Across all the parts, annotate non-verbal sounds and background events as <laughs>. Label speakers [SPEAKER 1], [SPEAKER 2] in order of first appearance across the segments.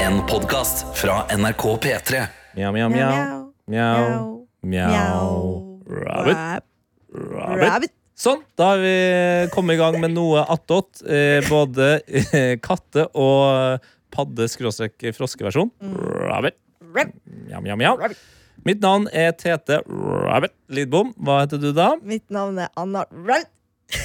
[SPEAKER 1] En podcast fra NRK P3
[SPEAKER 2] Mjau, mjau, mjau. Mjau, mjau. Rabbit, rabbit.
[SPEAKER 3] Rabbit.
[SPEAKER 2] Sånn, da har vi kommet i gang med noe attåt. Eh, både eh, katte- og eh, padde-froske-versjon. Rabbit.
[SPEAKER 3] Rabbit.
[SPEAKER 2] Mjau, mjau, mjau. Mitt navn er Tete Rabbit Lidbom. Hva heter du, da?
[SPEAKER 3] Mitt navn er Anna Rabbit.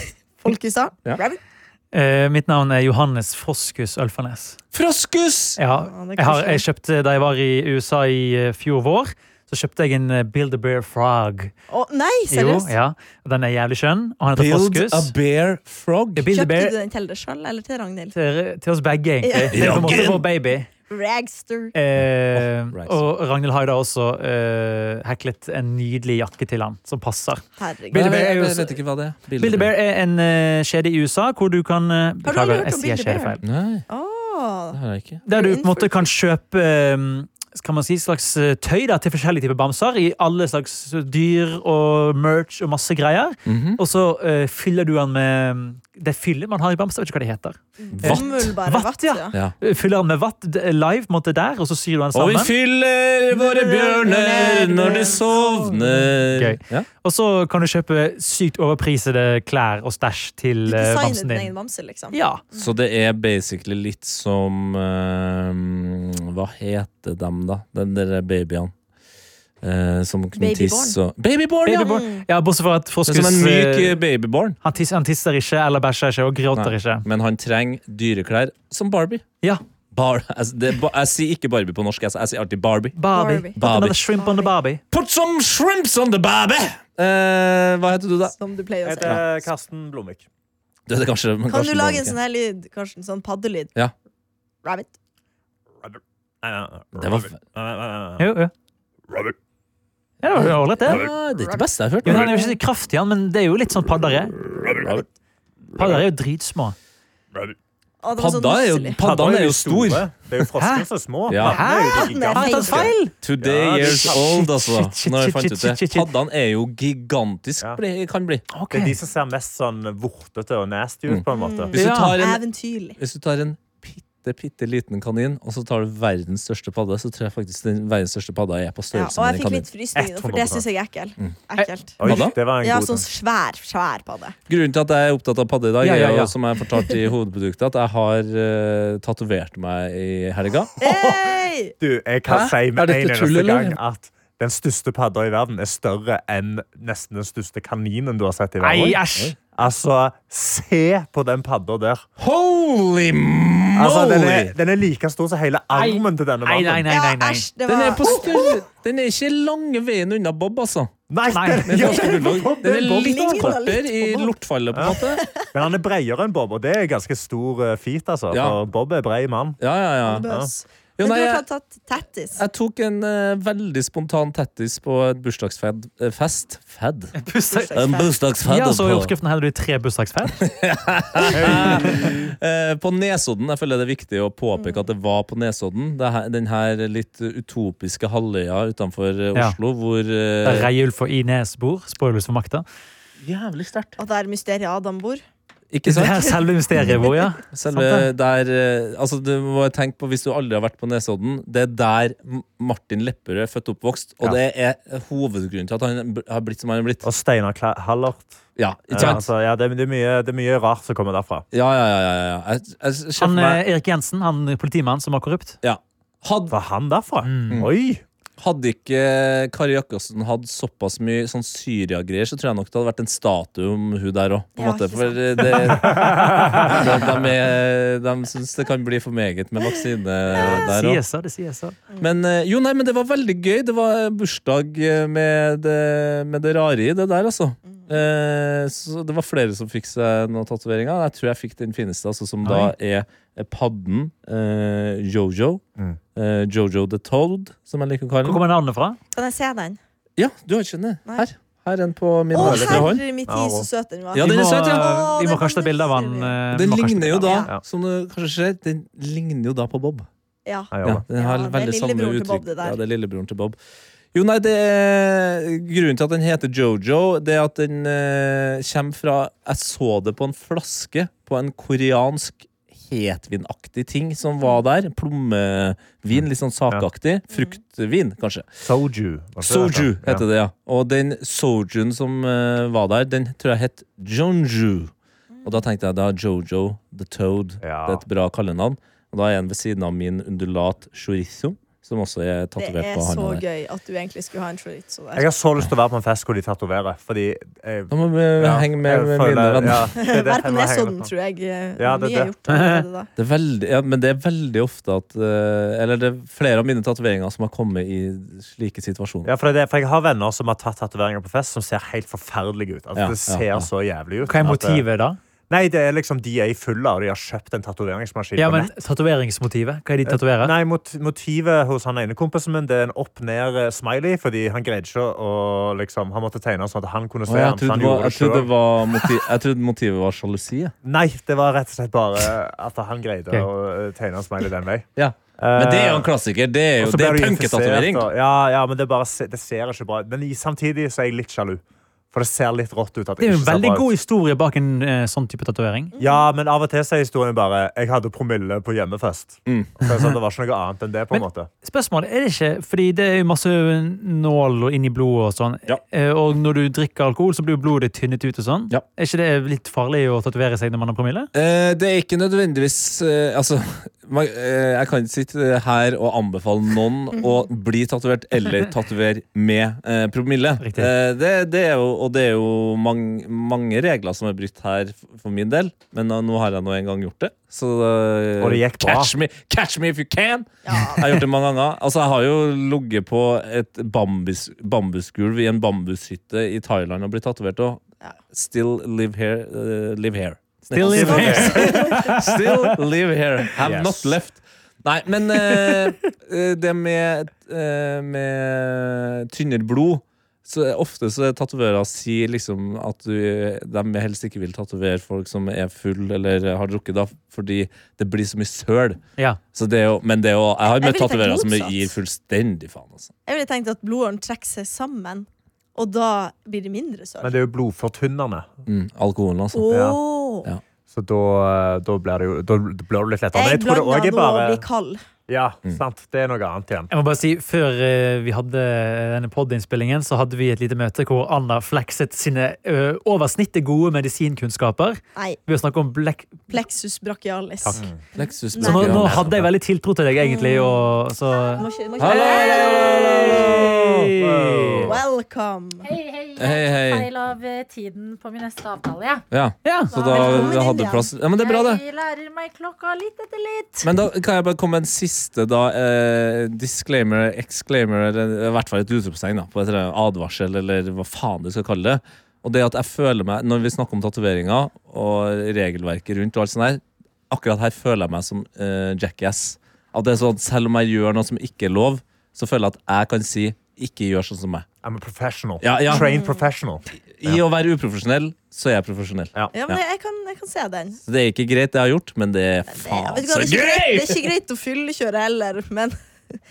[SPEAKER 3] <laughs> Folkestad.
[SPEAKER 2] Ja.
[SPEAKER 3] Rabbit.
[SPEAKER 4] Eh, mitt navn er Johannes Froskus Ølfarnes.
[SPEAKER 2] Froskus!
[SPEAKER 4] Jeg, har,
[SPEAKER 3] Ja, det er
[SPEAKER 4] jeg, har,
[SPEAKER 3] koselig.
[SPEAKER 4] jeg kjøpte, Da jeg var i USA i eh, fjor vår, så kjøpte jeg en eh, Build a Bear Frog.
[SPEAKER 3] Å nei,
[SPEAKER 4] Jo,
[SPEAKER 3] seriøst?
[SPEAKER 4] ja. Den er jævlig skjønn, og han heter
[SPEAKER 2] Build a
[SPEAKER 4] Froskus.
[SPEAKER 2] bear frog.
[SPEAKER 4] Ja, Build a
[SPEAKER 3] Kjøpte
[SPEAKER 4] Bear
[SPEAKER 3] du den til deg sjøl eller til Ragnhild?
[SPEAKER 4] til, til oss begge, egentlig. <laughs> Det er på en måte
[SPEAKER 2] Jaggen!
[SPEAKER 4] vår baby.
[SPEAKER 3] Ragster.
[SPEAKER 4] Eh,
[SPEAKER 2] right.
[SPEAKER 4] og Ragnhild har jo da også eh, heklet en nydelig jakke til han, som passer.
[SPEAKER 3] Herregud.
[SPEAKER 4] Build
[SPEAKER 2] Nei,
[SPEAKER 4] a Bear er
[SPEAKER 2] jeg,
[SPEAKER 4] jo
[SPEAKER 2] jeg
[SPEAKER 4] så-
[SPEAKER 2] vet ikke hva det er.
[SPEAKER 4] Build a Bear er en eh, kjede i USA hvor du kan eh,
[SPEAKER 3] Har du aldri hørt
[SPEAKER 4] Beklager,
[SPEAKER 3] om
[SPEAKER 4] jeg
[SPEAKER 3] Build a
[SPEAKER 4] sier kjede
[SPEAKER 3] Bear?
[SPEAKER 4] feil.
[SPEAKER 2] Nei,
[SPEAKER 3] Åh.
[SPEAKER 2] det har jeg ikke.
[SPEAKER 4] Der du på en måte
[SPEAKER 3] Innenfor-
[SPEAKER 4] kan kjøpe ehm, kan man si, slags eh, tøy da, til forskjellige typer bamser i alle slags dyr og merch og masse greier.
[SPEAKER 2] Mhm.
[SPEAKER 4] Og så eh, fyller du den med ehm, det fyllet man har i bamser. Jeg vet ikke hva det heter.
[SPEAKER 3] Bomull, bare
[SPEAKER 4] Vatt,
[SPEAKER 3] vatt,
[SPEAKER 4] ja.
[SPEAKER 3] ja.
[SPEAKER 2] Ja.
[SPEAKER 4] Eh, Fyller den med vatt d- live på en måte der, og så syr du den
[SPEAKER 2] Og vi
[SPEAKER 4] sammen.
[SPEAKER 2] fyller våre bjørner når de sovner.
[SPEAKER 4] Gøy.
[SPEAKER 2] Ja.
[SPEAKER 4] Og så kan du kjøpe sykt overprisede klær og stæsj
[SPEAKER 3] Du
[SPEAKER 4] til eh,
[SPEAKER 3] designet
[SPEAKER 4] bamsen
[SPEAKER 3] din egen
[SPEAKER 4] din.
[SPEAKER 3] bamse, liksom.
[SPEAKER 4] Ja.
[SPEAKER 2] Så det er basically litt som eh, Hva heter dem, da? Den der babyene. Eh, som kunne
[SPEAKER 3] Babyborn.
[SPEAKER 2] tisse og Babyborn, ja!
[SPEAKER 4] Babyborn. Ja, bortsett fra at
[SPEAKER 2] Det er som
[SPEAKER 4] Froskus
[SPEAKER 2] en myk eh,
[SPEAKER 4] eh,
[SPEAKER 2] babyborn.
[SPEAKER 4] han, tis, han tisser ikke eller bæsjer ikke og gråter
[SPEAKER 2] Nei.
[SPEAKER 4] ikke.
[SPEAKER 2] Men han trenger dyreklær som Barbie.
[SPEAKER 4] Ja,
[SPEAKER 2] Bar altså, det, er ba jeg sier ikke Barbie på norsk, jeg, jeg sier alltid Barbie.
[SPEAKER 4] Barbie.
[SPEAKER 3] Barbie.
[SPEAKER 4] Put another shrimp on the Barbie.
[SPEAKER 2] Put some shrimps on the Barbie! Eh, hva heter du, da?
[SPEAKER 3] Som du pleier å si.
[SPEAKER 5] eh,
[SPEAKER 4] heter Karsten Blomvik.
[SPEAKER 2] Det er kanskje, men
[SPEAKER 3] Kan du
[SPEAKER 2] kanskje
[SPEAKER 3] lage
[SPEAKER 2] Monica.
[SPEAKER 3] en sånn her lyd, Karsten? Sånn paddelyd?
[SPEAKER 2] Ja.
[SPEAKER 3] Rabbit.
[SPEAKER 2] Det var
[SPEAKER 4] Jo, jo. Ja, det var jo ålreit,
[SPEAKER 2] ja,
[SPEAKER 4] det.
[SPEAKER 2] Det er ikke det beste jeg har hørt.
[SPEAKER 4] Jo, han er jo ikke så kraftig, han, men det er jo litt sånn padder er. Padder er jo dritsmå.
[SPEAKER 3] Å, det var sånn så
[SPEAKER 2] Padda er jo,
[SPEAKER 3] nusselig.
[SPEAKER 2] paddan er jo stor.
[SPEAKER 5] Det er jo
[SPEAKER 4] Hæ?
[SPEAKER 5] frosker som er små.
[SPEAKER 2] Ja.
[SPEAKER 5] Paddene er jo
[SPEAKER 3] Hæ?
[SPEAKER 5] gigantiske.
[SPEAKER 4] Har jeg tatt feil?
[SPEAKER 2] Today
[SPEAKER 5] Ja, det-
[SPEAKER 2] years
[SPEAKER 5] Shit,
[SPEAKER 2] old,
[SPEAKER 4] shit,
[SPEAKER 2] altså.
[SPEAKER 4] shit, shit,
[SPEAKER 2] Når jeg
[SPEAKER 4] shit,
[SPEAKER 2] fant ut
[SPEAKER 4] shit,
[SPEAKER 2] det.
[SPEAKER 4] shit, shit.
[SPEAKER 2] Paddene er jo gigantisk,
[SPEAKER 5] Ja.
[SPEAKER 2] bli, kan bli.
[SPEAKER 4] Ok.
[SPEAKER 5] Det er de som ser mest sånn vortete og nasty ut, på en måte.
[SPEAKER 2] Hvis du
[SPEAKER 4] Ja.
[SPEAKER 2] tar en,
[SPEAKER 3] Eventyrlig.
[SPEAKER 2] hvis du tar en bitte, bitte liten kanin, og så tar du verdens største padde, så tror jeg faktisk den verdens største padda er på
[SPEAKER 3] Ja,
[SPEAKER 2] størrelse
[SPEAKER 3] og jeg
[SPEAKER 2] med en
[SPEAKER 3] fikk
[SPEAKER 2] kanin. Mm.
[SPEAKER 3] litt frysninger, nå, for det syns jeg er ekkel. ekkelt.
[SPEAKER 5] Oi,
[SPEAKER 2] Hva da?
[SPEAKER 5] det var en
[SPEAKER 3] Ja,
[SPEAKER 5] god
[SPEAKER 3] sånn
[SPEAKER 5] ting.
[SPEAKER 3] svær, svær padde.
[SPEAKER 2] Grunnen til at jeg er opptatt av padde i dag,
[SPEAKER 4] Ja, ja,
[SPEAKER 2] er jo,
[SPEAKER 4] ja.
[SPEAKER 2] som jeg fortalte i hovedproduktet, at jeg har uh, tatovert meg i helga.
[SPEAKER 3] <laughs> Hey!
[SPEAKER 5] Du, jeg kan
[SPEAKER 2] Hæ?
[SPEAKER 5] si
[SPEAKER 2] Er
[SPEAKER 5] med
[SPEAKER 2] dette
[SPEAKER 5] en
[SPEAKER 2] tull,
[SPEAKER 5] eneste
[SPEAKER 2] eller?
[SPEAKER 5] gang at den største padda i verden er større enn nesten den største kaninen du har sett i
[SPEAKER 4] Nei,
[SPEAKER 5] verden.
[SPEAKER 4] æsj!
[SPEAKER 5] Altså, se på den padda der.
[SPEAKER 2] Holy moly!
[SPEAKER 5] Altså, den, er, den er like stor som hele armen til denne
[SPEAKER 4] Nei, nei, nei.
[SPEAKER 5] mannen.
[SPEAKER 4] nei,
[SPEAKER 3] Ja,
[SPEAKER 4] nei.
[SPEAKER 3] æsj, det
[SPEAKER 2] Den er, på
[SPEAKER 3] var
[SPEAKER 2] større, den er ikke lange veien unna Bob, altså.
[SPEAKER 5] Nei,
[SPEAKER 4] Nei,
[SPEAKER 5] den,
[SPEAKER 2] Den
[SPEAKER 4] men
[SPEAKER 5] ja,
[SPEAKER 2] norske
[SPEAKER 5] den,
[SPEAKER 2] bulldoggen. Den er litt
[SPEAKER 3] ligner
[SPEAKER 2] kortere
[SPEAKER 3] litt
[SPEAKER 2] i
[SPEAKER 3] på Bob.
[SPEAKER 2] lortfallet, på en måte.
[SPEAKER 5] men han er bredere enn Bob, og det er ganske stor eh, feat, altså.
[SPEAKER 2] Ja.
[SPEAKER 5] For Bob er bred mann.
[SPEAKER 2] Ja, ja, ja.
[SPEAKER 3] bøs.
[SPEAKER 2] Jo,
[SPEAKER 3] Men du
[SPEAKER 2] nei,
[SPEAKER 3] har
[SPEAKER 2] jeg,
[SPEAKER 3] tatt tatt tattis.
[SPEAKER 2] Jeg tok en eh, veldig spontan tattis på et bursdagsfed. eh, fest? Fed?
[SPEAKER 4] Bursdags-
[SPEAKER 3] En
[SPEAKER 2] bursdagsfed
[SPEAKER 4] Ja, så i oppskriften her hadde du tre bursdagsfest.
[SPEAKER 2] Eh, på Nesodden. Jeg føler det er viktig å påpeke at det var på Nesodden. Det her, den her litt utopiske halvøya utenfor eh,
[SPEAKER 4] Ja.
[SPEAKER 2] Oslo hvor
[SPEAKER 4] Der
[SPEAKER 2] eh,
[SPEAKER 4] Reiulf og Ines bor. Spoilers for makta.
[SPEAKER 2] Jævlig sterkt.
[SPEAKER 3] Og der mysteriet Adam bor.
[SPEAKER 2] Ikke
[SPEAKER 4] Det er
[SPEAKER 2] sant?
[SPEAKER 4] selve mysteriet vår, ja.
[SPEAKER 2] Selve der eh, Altså, du må tenke på, hvis du aldri har vært på Nesodden, det er der M- Martin Lepperød er født og oppvokst, og
[SPEAKER 4] Ja.
[SPEAKER 2] det er hovedgrunnen til at han b- har blitt som han har blitt.
[SPEAKER 5] Og Steinar Kla- Hallert.
[SPEAKER 2] Ja, ikke
[SPEAKER 5] Ja,
[SPEAKER 2] sant?
[SPEAKER 5] altså, ja, det, er- det, er mye, det er mye rart som kommer derfra.
[SPEAKER 2] Ja, ja, ja. ja, ja. Jeg, jeg, jeg
[SPEAKER 4] Han
[SPEAKER 2] ser for meg-
[SPEAKER 4] eh, Erik Jensen, han politimannen som var korrupt.
[SPEAKER 2] Ja. Hadde,
[SPEAKER 5] Var han derfra?
[SPEAKER 2] Mm.
[SPEAKER 5] Oi!
[SPEAKER 2] hadde ikke Kari Jakobsen hatt såpass mye sånn Syria-greier, så tror jeg nok det hadde vært en statue om hun der òg.
[SPEAKER 3] Ja, ikke
[SPEAKER 2] for
[SPEAKER 3] <laughs>
[SPEAKER 2] eh, det, de, de, er- de syns det kan bli for meget med vaksine der òg.
[SPEAKER 4] Sies det, det sies det.
[SPEAKER 2] Men eh, jo, nei, men det var veldig gøy. Det var bursdag eh, med det, med det rare i det der, altså. Eh, så det var flere som fikk seg noen tatoveringer. Jeg tror jeg fikk den fineste, altså, som
[SPEAKER 4] Oi.
[SPEAKER 2] da er padden eh, Jojo.
[SPEAKER 5] Mm.
[SPEAKER 2] Eh, Jojo the Toad, som jeg liker å kalle den.
[SPEAKER 4] Hvor kommer navnet fra?
[SPEAKER 3] Kan jeg se den?
[SPEAKER 2] Ja, du har ikke den?
[SPEAKER 3] Nei.
[SPEAKER 2] Her. Her er den på min
[SPEAKER 3] Å,
[SPEAKER 2] høyre hånd.
[SPEAKER 3] herre min
[SPEAKER 5] Ja,
[SPEAKER 3] tid, så søt den var.
[SPEAKER 2] Ja,
[SPEAKER 4] Vi
[SPEAKER 2] den er
[SPEAKER 4] må,
[SPEAKER 2] søt, ja.
[SPEAKER 4] eh,
[SPEAKER 3] Å,
[SPEAKER 4] Vi må
[SPEAKER 3] den
[SPEAKER 4] kanskje ta
[SPEAKER 3] var
[SPEAKER 4] bilde av han.
[SPEAKER 3] nydelig.
[SPEAKER 4] eh, vi
[SPEAKER 2] Den
[SPEAKER 4] må kanskje ta
[SPEAKER 2] ligner jo
[SPEAKER 4] bilde
[SPEAKER 2] da,
[SPEAKER 4] av han.
[SPEAKER 5] Ja.
[SPEAKER 2] som du kanskje ser, den ligner jo da på Bob.
[SPEAKER 3] Ja.
[SPEAKER 5] Ja,
[SPEAKER 2] Ja,
[SPEAKER 5] ja.
[SPEAKER 2] den har
[SPEAKER 3] Ja, det er
[SPEAKER 2] veldig samme
[SPEAKER 3] lillebroren til Bob,
[SPEAKER 2] uttrykk.
[SPEAKER 3] det der.
[SPEAKER 2] ja, det er lillebroren til Bob. Jo, nei, det er Grunnen til at den heter Jojo, det er at den eh, kommer fra Jeg så det på en flaske på en koreansk potetvinaktig ting som var der. Plommevin, litt sånn sakaktig. Fruktvin, kanskje.
[SPEAKER 5] Soju. var det
[SPEAKER 2] Soju
[SPEAKER 5] det
[SPEAKER 2] heter det, ja. Og den sojuen som eh, var der, den tror jeg het Jonju. Og da tenkte jeg da Jojo the Toad.
[SPEAKER 5] Ja.
[SPEAKER 2] Det er et bra kallenavn. Og da er en ved siden av min undulat chorizo, som også er
[SPEAKER 3] Det
[SPEAKER 2] tatovert
[SPEAKER 3] er
[SPEAKER 2] på
[SPEAKER 3] så
[SPEAKER 2] handa der.
[SPEAKER 3] gøy at du egentlig skulle ha en chorizo
[SPEAKER 5] Jeg
[SPEAKER 3] der.
[SPEAKER 5] har så lyst til å være på en fest hvor de tatoverer. Fordi jeg,
[SPEAKER 2] Da må vi
[SPEAKER 5] ja,
[SPEAKER 2] henge med,
[SPEAKER 5] jeg
[SPEAKER 2] med
[SPEAKER 5] føler-
[SPEAKER 2] mine venner.
[SPEAKER 5] ja, det
[SPEAKER 3] <laughs>
[SPEAKER 5] er
[SPEAKER 3] Her
[SPEAKER 5] det jeg
[SPEAKER 3] på
[SPEAKER 5] må henge
[SPEAKER 3] Nesodden
[SPEAKER 5] med på.
[SPEAKER 3] tror jeg eh,
[SPEAKER 5] Ja, det er
[SPEAKER 3] mye er
[SPEAKER 5] det.
[SPEAKER 3] gjort allerede da.
[SPEAKER 2] Det er veldig, ja, men det er veldig ofte at eh, Eller det er flere av mine tatoveringer som har kommet i slike situasjoner.
[SPEAKER 5] Ja, for, det, er det- for jeg har venner som har tatt tatoveringer på fest, som ser helt forferdelige ut. Altså,
[SPEAKER 2] Ja,
[SPEAKER 5] det
[SPEAKER 2] ja,
[SPEAKER 5] ser
[SPEAKER 2] ja.
[SPEAKER 5] så jævlig ut.
[SPEAKER 4] Hva er
[SPEAKER 5] at eh, det-
[SPEAKER 4] motivet, da?
[SPEAKER 5] Nei, det er liksom De er i fylla, og de har kjøpt en tatoveringsmaskin.
[SPEAKER 4] Ja,
[SPEAKER 5] på
[SPEAKER 4] men
[SPEAKER 5] nett.
[SPEAKER 4] Tatoveringsmotivet? Hva er det de tatoverer?
[SPEAKER 5] Nei, mot, Motivet hos han ene kompisen min Det er en opp-ned-smiley, fordi han greide ikke å liksom, Han måtte tegne sånn at han kunne se
[SPEAKER 2] Å, jeg,
[SPEAKER 5] den, så
[SPEAKER 2] trodde
[SPEAKER 5] han
[SPEAKER 2] det var,
[SPEAKER 5] gjorde det
[SPEAKER 2] jeg, trodde det
[SPEAKER 5] selv.
[SPEAKER 2] var moti- jeg trodde motivet var sjalusi. Ja.
[SPEAKER 5] Nei, det var rett og slett bare at han greide
[SPEAKER 4] Ok.
[SPEAKER 5] å eh, tegne en smiley den vei.
[SPEAKER 2] Ja. Men det er jo en klassiker. Det er
[SPEAKER 5] Eh, Og
[SPEAKER 2] jo
[SPEAKER 5] så
[SPEAKER 2] det
[SPEAKER 5] blir
[SPEAKER 2] er
[SPEAKER 5] du
[SPEAKER 2] punketatovering.
[SPEAKER 5] infisert, og- Ja, ja, men det, bare, se- det ser ikke bra ut. Men i- samtidig så er jeg litt sjalu. For det ser litt rått ut. At
[SPEAKER 4] Det er jo
[SPEAKER 5] ikke
[SPEAKER 4] en
[SPEAKER 5] ser
[SPEAKER 4] veldig
[SPEAKER 5] bra ut.
[SPEAKER 4] god historie bak en eh, sånn type tatovering.
[SPEAKER 5] Ja, men av og til så er historien bare Jeg hadde promille på hjemmefest.
[SPEAKER 2] Mm.
[SPEAKER 5] Så det er sånn, det var ikke noe annet enn det. på en
[SPEAKER 4] Men-
[SPEAKER 5] måte
[SPEAKER 4] Spørsmålet er det ikke, fordi det er jo masse nål og inn i blodet og sånn.
[SPEAKER 2] Ja.
[SPEAKER 4] Eh, Og når du drikker alkohol, så blir jo blodet tynnet ut og sånn.
[SPEAKER 2] Ja.
[SPEAKER 4] Er ikke det litt farlig å tatovere seg når man har promille?
[SPEAKER 2] Eh, det er ikke nødvendigvis eh, Altså, man, eh, jeg kan ikke sitte her og anbefale noen å bli tatovert eller tatovere med eh, promille.
[SPEAKER 4] Riktig.
[SPEAKER 2] Eh, det, det er jo, og det er jo mang, mange regler som er brutt her f- for min del, men eh, nå har jeg nå en gang gjort det. Så eh,
[SPEAKER 5] Og det gikk bra.
[SPEAKER 2] Catch me, catch me if you can!
[SPEAKER 3] Ja,
[SPEAKER 2] Jeg har gjort det mange ganger. Altså, jeg har jo ligget på et bambus, bambusgulv i en bambushytte i Thailand og blitt tatovert. Og
[SPEAKER 3] Ja.
[SPEAKER 2] still live here. eh, live here.
[SPEAKER 4] Still live
[SPEAKER 2] here.
[SPEAKER 4] <laughs>
[SPEAKER 2] still live here. Have
[SPEAKER 5] Yes.
[SPEAKER 2] not left. Nei, men eh, eh, det med, eh, med tynnere blod så Ofte så er tatoverer sier liksom at du, de helst ikke vil tatovere folk som er full eller har drukket, da, fordi det blir så mye søl.
[SPEAKER 4] Ja.
[SPEAKER 2] Så det er jo, men det er jo, jeg har
[SPEAKER 3] Jeg
[SPEAKER 2] møtt
[SPEAKER 3] ville tenkt
[SPEAKER 2] tatoverere som
[SPEAKER 3] motsatt.
[SPEAKER 2] gir fullstendig faen. Altså.
[SPEAKER 3] Jeg ville tenkt at blodåren trekker seg sammen, og da blir det mindre
[SPEAKER 5] Men
[SPEAKER 3] sølv.
[SPEAKER 5] det er jo blodfortynnende.
[SPEAKER 2] Mm, alkoholen, altså.
[SPEAKER 3] Åh
[SPEAKER 2] Ja.
[SPEAKER 5] Så da, eh, da blir det jo da blir det litt lettere. Men
[SPEAKER 3] Jeg
[SPEAKER 5] jeg tror det også
[SPEAKER 3] blanda nå
[SPEAKER 5] er
[SPEAKER 3] å bli
[SPEAKER 5] bare
[SPEAKER 3] kald.
[SPEAKER 5] Ja,
[SPEAKER 2] Mm.
[SPEAKER 5] sant. Det er noe annet igjen.
[SPEAKER 4] Jeg må bare si, Før eh, vi hadde denne podinnspillingen, så hadde vi et lite møte hvor Anna flekset sine eh, over snittet gode medisinkunnskaper
[SPEAKER 3] Nei,
[SPEAKER 4] ved å snakke om blekk...
[SPEAKER 3] plexus brachialis.
[SPEAKER 5] Takk.
[SPEAKER 2] Plexus
[SPEAKER 4] Så nå,
[SPEAKER 2] brachialis.
[SPEAKER 4] nå hadde jeg veldig tiltro til deg, egentlig. Og, så...
[SPEAKER 3] Må ikke, må
[SPEAKER 2] Hallo, hallo,
[SPEAKER 3] ikke.
[SPEAKER 5] hallo.
[SPEAKER 3] Welcome.
[SPEAKER 6] Hei, hei. Jeg
[SPEAKER 2] Hei, hei.
[SPEAKER 6] tok feil av eh, tiden på min neste avtale, jeg.
[SPEAKER 2] Ja,
[SPEAKER 4] Ja.
[SPEAKER 2] så da
[SPEAKER 3] Velkommen inn,
[SPEAKER 2] hadde
[SPEAKER 3] ja.
[SPEAKER 2] plass Ja, men det er bra, det.
[SPEAKER 6] Jeg lærer meg klokka litt etter litt.
[SPEAKER 2] <laughs> Men da kan jeg bare komme med en siste da, eh, disclaimer, exclaimer, eller i hvert fall et utropstegn. da, på et eller annet Advarsel, eller hva faen du skal kalle det. Og det at jeg føler meg, Når vi snakker om tatoveringer og regelverket rundt, og alt sånt her, akkurat her føler jeg meg som eh, jackass. At det er sånn, Selv om jeg gjør noe som ikke er lov, så føler jeg at jeg kan si 'ikke gjør sånn som meg'.
[SPEAKER 5] I'm a professional.
[SPEAKER 2] Ja, ja.
[SPEAKER 5] Trained professional.
[SPEAKER 2] I å være uprofesjonell, så er jeg profesjonell.
[SPEAKER 3] Ja, men jeg kan, jeg kan se den.
[SPEAKER 2] Så Det er ikke greit, det jeg har gjort, men det er
[SPEAKER 3] Det, jeg
[SPEAKER 2] faen
[SPEAKER 3] vet ikke, hva,
[SPEAKER 2] så
[SPEAKER 3] det, er ikke greit, det
[SPEAKER 2] gøy!
[SPEAKER 3] er ikke greit å fyllekjøre heller,
[SPEAKER 2] <laughs>
[SPEAKER 3] men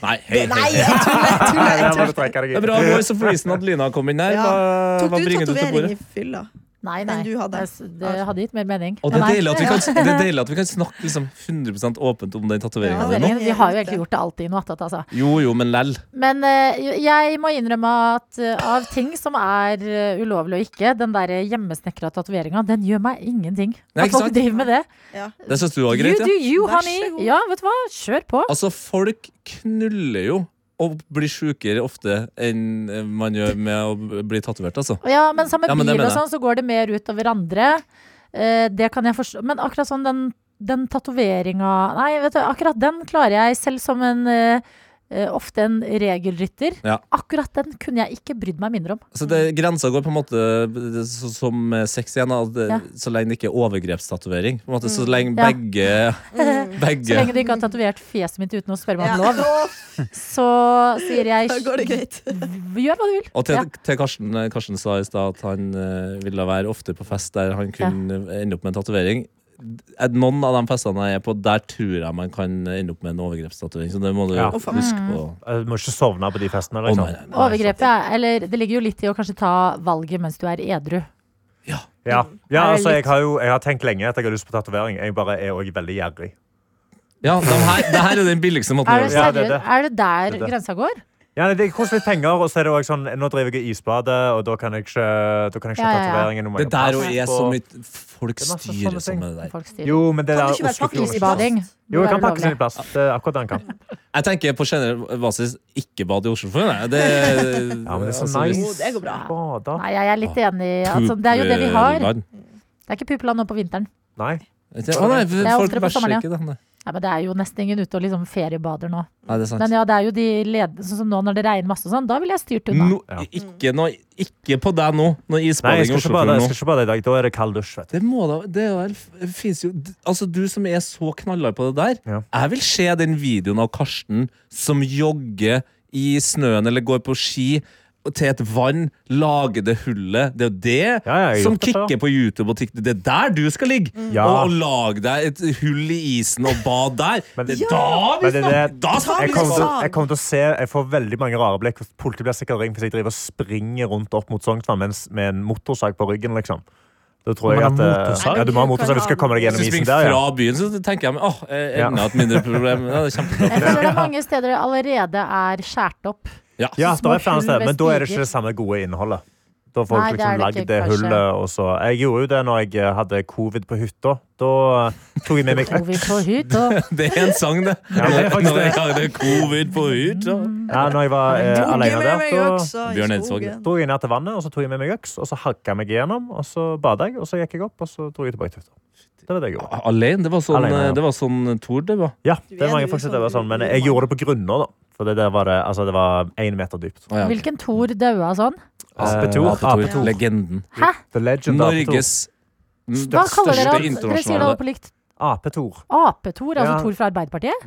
[SPEAKER 2] Nei, hei, hei,
[SPEAKER 3] Nei,
[SPEAKER 2] hei.
[SPEAKER 3] jeg tuller! Jeg tuller,
[SPEAKER 5] Der
[SPEAKER 3] jeg
[SPEAKER 5] må
[SPEAKER 3] tuller.
[SPEAKER 5] du trekke deg
[SPEAKER 2] Det er
[SPEAKER 5] i.
[SPEAKER 2] bra Voice of Reason at Lina kom inn her.
[SPEAKER 3] Ja.
[SPEAKER 2] Hva,
[SPEAKER 3] Tok
[SPEAKER 2] hva
[SPEAKER 3] du
[SPEAKER 2] bringer du til
[SPEAKER 3] tatovering
[SPEAKER 2] bordet?
[SPEAKER 3] i fylla?
[SPEAKER 5] <laughs>
[SPEAKER 6] Nei,
[SPEAKER 3] Den du hadde.
[SPEAKER 6] Det, det hadde gitt mer mening.
[SPEAKER 2] Og det er
[SPEAKER 6] Nei.
[SPEAKER 2] deilig at vi kan, det er deilig at vi kan snakke liksom 100 åpent om den
[SPEAKER 6] Ja,
[SPEAKER 2] tatoveringa
[SPEAKER 6] dere,
[SPEAKER 2] di nå.
[SPEAKER 6] vi har jo egentlig gjort det alltid noe attåt, altså.
[SPEAKER 2] Jo jo, men lell.
[SPEAKER 6] Men eh, jeg må innrømme at eh, av ting som er eh, ulovlig og ikke, den der hjemmesnekra tatoveringa, den gjør meg ingenting.
[SPEAKER 2] Nei,
[SPEAKER 6] At
[SPEAKER 2] ikke
[SPEAKER 6] folk
[SPEAKER 2] sant?
[SPEAKER 6] driver med det.
[SPEAKER 3] Ja.
[SPEAKER 2] Det syns du var
[SPEAKER 6] You
[SPEAKER 2] greit,
[SPEAKER 6] do
[SPEAKER 2] ja?
[SPEAKER 6] you,
[SPEAKER 3] Vær så god.
[SPEAKER 6] honey. Ja, vet du hva? Kjør på.
[SPEAKER 2] Altså, folk knuller jo. Og blir sjukere ofte enn eh, man gjør med å bli tatovert, altså.
[SPEAKER 6] Ja, men sammen
[SPEAKER 2] Ja, men
[SPEAKER 6] med
[SPEAKER 2] det
[SPEAKER 6] bil
[SPEAKER 2] mener
[SPEAKER 6] og
[SPEAKER 2] jeg.
[SPEAKER 6] sånn, så går det mer ut over andre. Eh, det kan jeg forstå. Men akkurat sånn den, den tatoveringa Nei, vet du, akkurat den klarer jeg selv som en eh, eh, ofte en regelrytter.
[SPEAKER 2] Ja.
[SPEAKER 6] Akkurat den kunne jeg ikke brydd meg mindre om.
[SPEAKER 2] Så Altså, det, Grensa går på en måte eh, så, som eh, sex igjen, da, at, eh,
[SPEAKER 6] Ja.
[SPEAKER 2] så lenge det ikke er overgrepstatovering. På en måte, så lenge
[SPEAKER 6] Ja.
[SPEAKER 2] begge,
[SPEAKER 6] Så
[SPEAKER 2] begge
[SPEAKER 6] lenge du ikke har tatovert fjeset mitt uten å spørre meg
[SPEAKER 3] Mm. Ja. <laughs>
[SPEAKER 6] om lov, så sier jeg
[SPEAKER 3] Da går det greit.
[SPEAKER 6] gjør hva du vil.
[SPEAKER 2] Og til,
[SPEAKER 6] Ja.
[SPEAKER 2] til Karsten, Karsten sa i stad at han eh, ville være ofte på fest der han kunne ende opp med en tatovering. Eh, Noen av de festene jeg er på, der tror jeg man kan ende opp med en overgrepstatovering. Så det må du
[SPEAKER 5] Ja.
[SPEAKER 3] Å, faen.
[SPEAKER 2] huske på.
[SPEAKER 5] Du må ikke sovne på de festene.
[SPEAKER 2] Å, nei,
[SPEAKER 5] Liksom.
[SPEAKER 2] nei, nei.
[SPEAKER 6] Overgrepet er Eller det ligger jo litt i å kanskje ta valget mens du er edru.
[SPEAKER 2] Ja.
[SPEAKER 5] Ja, ja
[SPEAKER 6] er
[SPEAKER 5] altså,
[SPEAKER 6] litt-
[SPEAKER 5] jeg har jo jeg har tenkt lenge at jeg har lyst på tatovering. Jeg bare er også veldig gjerrig.
[SPEAKER 2] Ja, de her, det her er den billigste måten å
[SPEAKER 6] Er
[SPEAKER 2] gjøre
[SPEAKER 6] det,
[SPEAKER 2] det
[SPEAKER 5] Ja, det er
[SPEAKER 6] seriøst?
[SPEAKER 5] det.
[SPEAKER 6] er det der
[SPEAKER 5] Det er det.
[SPEAKER 6] grensa går?
[SPEAKER 5] Ja, nei, det koster litt penger, og så er det også sånn, nå driver jeg i isbadet, og da kan jeg ikke, da kan jeg ikke
[SPEAKER 6] Ja,
[SPEAKER 5] ha
[SPEAKER 6] ja, ja.
[SPEAKER 5] tatoveringen. nå må
[SPEAKER 2] Det
[SPEAKER 5] jeg ha
[SPEAKER 2] der
[SPEAKER 5] pass
[SPEAKER 2] og er
[SPEAKER 5] på.
[SPEAKER 2] så mye Folk
[SPEAKER 5] Det er masse
[SPEAKER 2] styrer
[SPEAKER 5] sånne
[SPEAKER 2] sånn
[SPEAKER 5] ting.
[SPEAKER 2] med det der.
[SPEAKER 6] Folk styrer.
[SPEAKER 5] Jo, men det
[SPEAKER 3] Kan
[SPEAKER 5] der
[SPEAKER 3] du ikke være
[SPEAKER 5] Oslofjorden-
[SPEAKER 3] pakkis i badet?
[SPEAKER 6] Isbading.
[SPEAKER 5] Jo, jeg kan
[SPEAKER 6] burde være
[SPEAKER 5] pakke sin
[SPEAKER 6] ulovlig.
[SPEAKER 5] plass. Det er akkurat det han kan.
[SPEAKER 2] Jeg tenker på generell basis ikke bad i Oslofjorden. jeg. Det,
[SPEAKER 5] Ja, men det er så
[SPEAKER 2] altså, hvis-
[SPEAKER 5] nice.
[SPEAKER 3] det går bra.
[SPEAKER 5] Bada.
[SPEAKER 6] Nei, jeg er litt enig. Altså, det er jo det vi har.
[SPEAKER 2] Pupeland.
[SPEAKER 6] Det er ikke pupeland nå på vinteren.
[SPEAKER 5] Nei.
[SPEAKER 2] Å nei, folk
[SPEAKER 6] oftere på
[SPEAKER 2] bæsjer
[SPEAKER 6] sommeren,
[SPEAKER 2] ikke, da. Nei.
[SPEAKER 6] Nei, men Det er jo nesten ingen ute og liksom feriebader nå.
[SPEAKER 2] Nei, det er sant.
[SPEAKER 6] Men ja, det er jo de led... Sånn som nå når det regner masse og sånn, da ville jeg styrt unna.
[SPEAKER 2] No,
[SPEAKER 5] Ja.
[SPEAKER 2] ikke, noe- ikke på deg nå, når
[SPEAKER 5] Nei, jeg
[SPEAKER 2] isbading i
[SPEAKER 5] skal ikke bade, jeg
[SPEAKER 2] Oslofjorden nå.
[SPEAKER 5] skal ikke bade i dag. Da er det kald dusj, vet du.
[SPEAKER 2] Det må da det er, det finnes jo, Altså, du som er så knallhard på det der,
[SPEAKER 5] Ja.
[SPEAKER 2] jeg vil se den videoen av Karsten som jogger i snøen eller går på ski til et vann, lager det hullet. Det er jo det
[SPEAKER 5] Ja, jeg har
[SPEAKER 2] som
[SPEAKER 5] gjort det før.
[SPEAKER 2] kicker på YouTube og TikTok. Det er der du skal ligge!
[SPEAKER 5] Ja.
[SPEAKER 2] Og, og lage deg et hull i isen og bad der.
[SPEAKER 5] Men-
[SPEAKER 2] det, er da vi
[SPEAKER 5] Men det,
[SPEAKER 2] snakker!
[SPEAKER 5] det,
[SPEAKER 2] Da snakker
[SPEAKER 5] jeg,
[SPEAKER 2] vi!
[SPEAKER 5] kommer til,
[SPEAKER 3] faen.
[SPEAKER 5] jeg kommer til å se Jeg får veldig mange rare blikk. Politiet blir sikkert ringt hvis jeg driver og springer rundt opp mot Sognsvann mens, med en motorsag på ryggen. liksom Da tror
[SPEAKER 4] Man
[SPEAKER 5] jeg
[SPEAKER 4] har
[SPEAKER 5] at eh,
[SPEAKER 4] motorsag?
[SPEAKER 5] Ja, du må ha motorsag. Du skal komme deg
[SPEAKER 2] Hvis
[SPEAKER 5] gjennom
[SPEAKER 2] du
[SPEAKER 5] isen
[SPEAKER 2] springer
[SPEAKER 5] der.
[SPEAKER 2] fra
[SPEAKER 5] Ja.
[SPEAKER 2] byen, så tenker jeg meg, åh, eh,
[SPEAKER 5] Ja.
[SPEAKER 2] enda et mindre problem. Ja, det er kjempebra.
[SPEAKER 6] Jeg føler det er mange steder det allerede er skåret opp.
[SPEAKER 2] Ja.
[SPEAKER 5] <laughs> Ja,
[SPEAKER 6] små
[SPEAKER 5] det er flere
[SPEAKER 6] hull ved
[SPEAKER 5] steder, men da er det ikke
[SPEAKER 6] stiger.
[SPEAKER 5] det samme gode innholdet. Da får
[SPEAKER 6] Nei,
[SPEAKER 5] du
[SPEAKER 6] det er
[SPEAKER 5] liksom
[SPEAKER 6] det
[SPEAKER 5] lagd
[SPEAKER 6] ikke,
[SPEAKER 5] det
[SPEAKER 6] kanskje.
[SPEAKER 5] hullet. Og så. Jeg gjorde jo det når jeg eh, hadde covid på hytta. Da eh, tok jeg med meg
[SPEAKER 6] Og vi på hytta.
[SPEAKER 2] Det er en sang, det.
[SPEAKER 5] Ja, det er faktisk
[SPEAKER 2] Når jeg
[SPEAKER 5] det.
[SPEAKER 2] hadde covid på hyt. så-
[SPEAKER 5] ja, Når jeg var eh, alene der, da
[SPEAKER 2] Bjørn Eidsvåg.
[SPEAKER 5] dro jeg ned til vannet, og så tok jeg med meg øks, og så hakka jeg meg gjennom, og så bada jeg, og så gikk jeg opp, og så dro jeg tilbake til hytta. Det var det jeg gjorde.
[SPEAKER 2] Alene? Det var sånn,
[SPEAKER 5] Alene, ja.
[SPEAKER 2] det var sånn Tor det var.
[SPEAKER 5] Ja,
[SPEAKER 3] Du
[SPEAKER 5] det
[SPEAKER 3] er
[SPEAKER 5] var jeg
[SPEAKER 3] jo
[SPEAKER 5] faktisk
[SPEAKER 3] sånn
[SPEAKER 5] det var sånn, men
[SPEAKER 3] uromantisk.
[SPEAKER 5] jeg gjorde det på grunner, da. For det der var det, altså, det var én meter dypt.
[SPEAKER 2] Å, <laughs> ja, ok.
[SPEAKER 6] Hvilken Thor daua sånn?
[SPEAKER 5] Apetor.
[SPEAKER 2] Eh, Apetor.
[SPEAKER 5] Apetor.
[SPEAKER 2] Legenden.
[SPEAKER 6] Hæ?
[SPEAKER 5] The legend
[SPEAKER 2] Norges
[SPEAKER 6] Hva kaller dere
[SPEAKER 2] største
[SPEAKER 6] han? Dere sier det
[SPEAKER 2] internasjonale
[SPEAKER 6] alle på likt.
[SPEAKER 5] Apetor.
[SPEAKER 6] Apetor, altså
[SPEAKER 5] Ja.
[SPEAKER 6] Thor fra Arbeiderpartiet?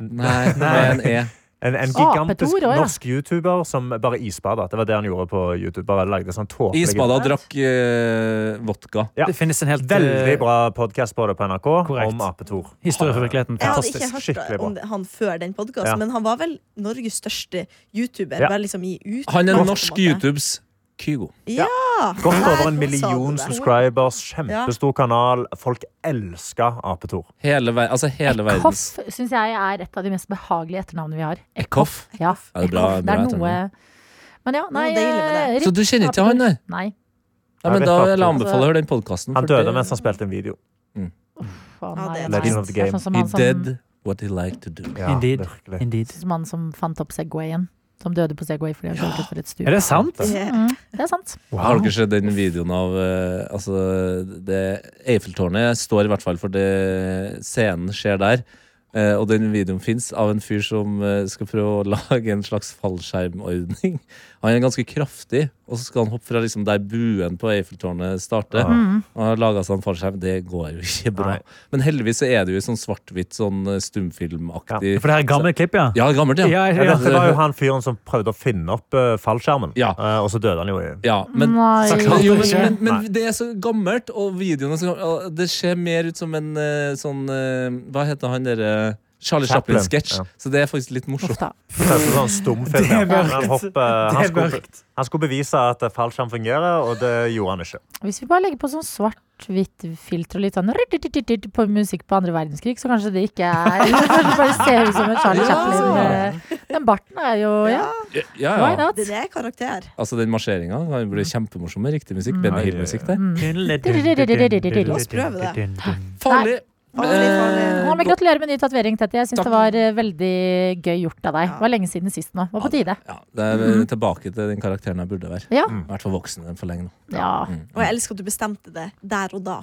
[SPEAKER 5] <laughs>
[SPEAKER 2] Nei, med en E.
[SPEAKER 5] En, en gigantisk
[SPEAKER 6] Apetor også, ja.
[SPEAKER 5] norsk YouTuber som bare isbada. Det var det han gjorde på YouTube. Bare lagde sånn tåpelige
[SPEAKER 2] Isbada og drakk eh, vodka.
[SPEAKER 5] Ja.
[SPEAKER 4] Det finnes en helt
[SPEAKER 5] Veldig
[SPEAKER 4] eh,
[SPEAKER 5] bra podkast på det på NRK
[SPEAKER 4] Korrekt.
[SPEAKER 5] om Apetor.
[SPEAKER 4] historie fra virkeligheten.
[SPEAKER 3] Jeg hadde ikke
[SPEAKER 4] Fantastisk.
[SPEAKER 3] hørt
[SPEAKER 5] Skikkelig bra.
[SPEAKER 3] om det- han før den podkasten,
[SPEAKER 5] Ja.
[SPEAKER 3] men han var vel Norges største YouTuber.
[SPEAKER 5] Ja.
[SPEAKER 3] Bare liksom i ut
[SPEAKER 2] Han
[SPEAKER 3] på
[SPEAKER 2] er
[SPEAKER 3] en
[SPEAKER 2] norsk
[SPEAKER 3] måte.
[SPEAKER 2] YouTubes Kygo.
[SPEAKER 5] Godt over en
[SPEAKER 3] Nei, nå sa du
[SPEAKER 5] million
[SPEAKER 3] det.
[SPEAKER 5] subscribers, kjempestor kanal. Folk elsker Apetor.
[SPEAKER 2] Hele, ver altså hele
[SPEAKER 6] Koff
[SPEAKER 2] verdens
[SPEAKER 6] syns jeg er et av de mest behagelige etternavnene vi har.
[SPEAKER 2] Ekoff.
[SPEAKER 6] Ja,
[SPEAKER 2] Ja, det er bra-
[SPEAKER 6] Eckhoff. Det er
[SPEAKER 2] bra
[SPEAKER 6] noe
[SPEAKER 2] etternavn.
[SPEAKER 6] Men ja, nei eh,
[SPEAKER 3] Noe deilig med
[SPEAKER 2] Så du kjenner ikke til han, nei?
[SPEAKER 6] Nei.
[SPEAKER 2] Ja, men
[SPEAKER 5] Jeg vet
[SPEAKER 2] da vil jeg
[SPEAKER 5] Apetor.
[SPEAKER 2] anbefale å høre den podkasten.
[SPEAKER 5] Han døde mens han spilte en video.
[SPEAKER 6] Faen,
[SPEAKER 3] Ja,
[SPEAKER 6] nei,
[SPEAKER 3] det er
[SPEAKER 6] nei.
[SPEAKER 5] Legend of the
[SPEAKER 6] Det er
[SPEAKER 5] game.
[SPEAKER 6] Sånn som
[SPEAKER 2] He
[SPEAKER 6] han som,
[SPEAKER 2] did what he liked to do.
[SPEAKER 5] Ja,
[SPEAKER 4] Indeed.
[SPEAKER 5] virkelig.
[SPEAKER 4] Indeed.
[SPEAKER 6] som han som fant opp Segwayen. Som døde på Segway fordi han kjørte utfor et stup.
[SPEAKER 4] Er det sant?
[SPEAKER 3] Yeah.
[SPEAKER 6] Mm, det er sant.
[SPEAKER 2] Har dere sett den videoen av eh, altså, det, Eiffeltårnet står i hvert fall for det scenen skjer der. Eh, og den videoen fins av en fyr som eh, skal prøve å <laughs> lage en slags fallskjermordning. Han er ganske kraftig, og så skal han hoppe fra liksom, der buen på Eiffeltårnet starter.
[SPEAKER 4] Mm.
[SPEAKER 2] Og han har laga seg en fallskjerm. Det går jo ikke bra.
[SPEAKER 5] Nei.
[SPEAKER 2] Men heldigvis så er det jo i sånn svart-hvitt, sånn eh, stumfilmaktig
[SPEAKER 4] For det her er gamle klipp, ja.
[SPEAKER 2] Ja, gammelt, ja.
[SPEAKER 4] Ja,
[SPEAKER 5] Ja,
[SPEAKER 4] ja.
[SPEAKER 5] dette var jo han fyren som prøvde å finne opp eh, fallskjermen,
[SPEAKER 2] Ja.
[SPEAKER 5] Eh, og så døde han jo i
[SPEAKER 2] Ja, men
[SPEAKER 6] Nei.
[SPEAKER 4] Så klart
[SPEAKER 2] Jo,
[SPEAKER 4] det skjer.
[SPEAKER 2] men, men,
[SPEAKER 5] Nei.
[SPEAKER 2] men det er så gammelt, og videoene er så gamle. og Det ser mer ut som en eh, sånn eh, Hva heter han derre Charlie
[SPEAKER 5] Chaplin,
[SPEAKER 2] Chaplin-sketsj.
[SPEAKER 5] ja.
[SPEAKER 2] Så det er faktisk litt
[SPEAKER 6] Uff
[SPEAKER 2] morsomt.
[SPEAKER 6] da.
[SPEAKER 5] Det er sånn stumfilm.
[SPEAKER 4] Det er
[SPEAKER 5] ja.
[SPEAKER 4] mørkt.
[SPEAKER 5] Han, hopper-
[SPEAKER 4] Det
[SPEAKER 5] han,
[SPEAKER 4] er
[SPEAKER 5] skulle,
[SPEAKER 4] mørkt.
[SPEAKER 5] han skulle bevise at eh, fallskjerm fungerer, og det gjorde han ikke.
[SPEAKER 6] Hvis vi bare legger på sånn svart-hvitt filter og litt sånn rrrrrrrrrrt på musikk på andre verdenskrig, så kanskje det
[SPEAKER 2] <laughs>
[SPEAKER 6] ikke er Kanskje det bare ser ut som en
[SPEAKER 2] Ja.
[SPEAKER 6] Charlie Chaplin. eh, Den barten er jo Ja,
[SPEAKER 2] Ja,
[SPEAKER 6] why
[SPEAKER 2] ja.
[SPEAKER 6] not? Mm.
[SPEAKER 3] Det er karakter.
[SPEAKER 2] Altså, den marsjeringa kan jo bli kjempemorsom med riktig
[SPEAKER 5] Mm.
[SPEAKER 2] musikk. Benny Hill-musikk der.
[SPEAKER 3] La oss prøve det.
[SPEAKER 2] Farlig! Eh,
[SPEAKER 3] Farlig, farlig.
[SPEAKER 6] Ja, men gratulerer med ny tatovering, Tete. Jeg syns
[SPEAKER 2] Takk.
[SPEAKER 6] det var eh, veldig gøy gjort av deg. Det var lenge siden sist nå. Det var på tide.
[SPEAKER 2] Ja, Mm. det er
[SPEAKER 6] Mm.
[SPEAKER 2] eh, tilbake til den karakteren jeg burde være.
[SPEAKER 6] Ja.
[SPEAKER 5] Mm.
[SPEAKER 2] I hvert fall voksen enn for lenge nå.
[SPEAKER 6] ja.
[SPEAKER 3] Og jeg elsker at du bestemte det der og da.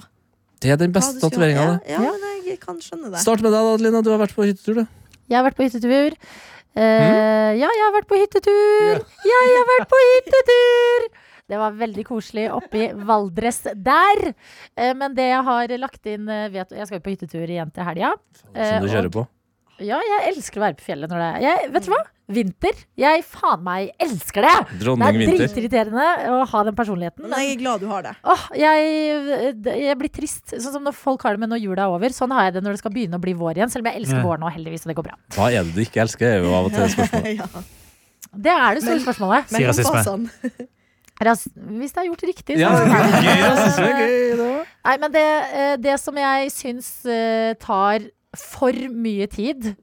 [SPEAKER 2] Det er den
[SPEAKER 3] Hva
[SPEAKER 2] beste
[SPEAKER 3] du skulle-
[SPEAKER 2] tatoveringa, det.
[SPEAKER 3] ja, ja, men jeg kan skjønne det.
[SPEAKER 2] Start med deg, da, Adelina. Du har vært på hyttetur, du.
[SPEAKER 6] Jeg har vært på hyttetur. Eh, Ja, jeg har vært på <laughs> hyttetur! Jeg har vært på hyttetur! Det var veldig koselig oppe i Valdres der. Eh, men det jeg har lagt inn eh, vet, Jeg skal jo på hyttetur igjen til helga. Eh,
[SPEAKER 2] Som du kjører på.
[SPEAKER 6] Ja, jeg elsker å være på fjellet når det er jeg, Vet du hva? Vinter. Jeg faen meg elsker det! Det
[SPEAKER 2] Dronning
[SPEAKER 6] er
[SPEAKER 2] Vinter.
[SPEAKER 6] dritirriterende å ha den personligheten.
[SPEAKER 3] Men jeg er glad du har det.
[SPEAKER 6] Åh, jeg, jeg blir trist. Sånn som når folk har det med når jula er over. Sånn har jeg det når det skal begynne å bli vår igjen. Selv om jeg elsker
[SPEAKER 4] Ja.
[SPEAKER 6] vår nå, heldigvis, og det går bra.
[SPEAKER 2] Hva er det du ikke
[SPEAKER 5] <laughs>
[SPEAKER 2] elsker? er jo av og til spørsmålet.
[SPEAKER 3] <laughs> ja.
[SPEAKER 6] <laughs> Det er det store spørsmålet.
[SPEAKER 3] Men sånn.
[SPEAKER 4] rasisme.
[SPEAKER 3] kompasene
[SPEAKER 6] Ras hvis det er gjort riktig, så
[SPEAKER 2] Ja,
[SPEAKER 6] er det bra.
[SPEAKER 2] gøy, jeg synes det er gøy, det også.
[SPEAKER 6] <laughs> Nei, men det, eh, det som jeg syns eh, tar for mye tid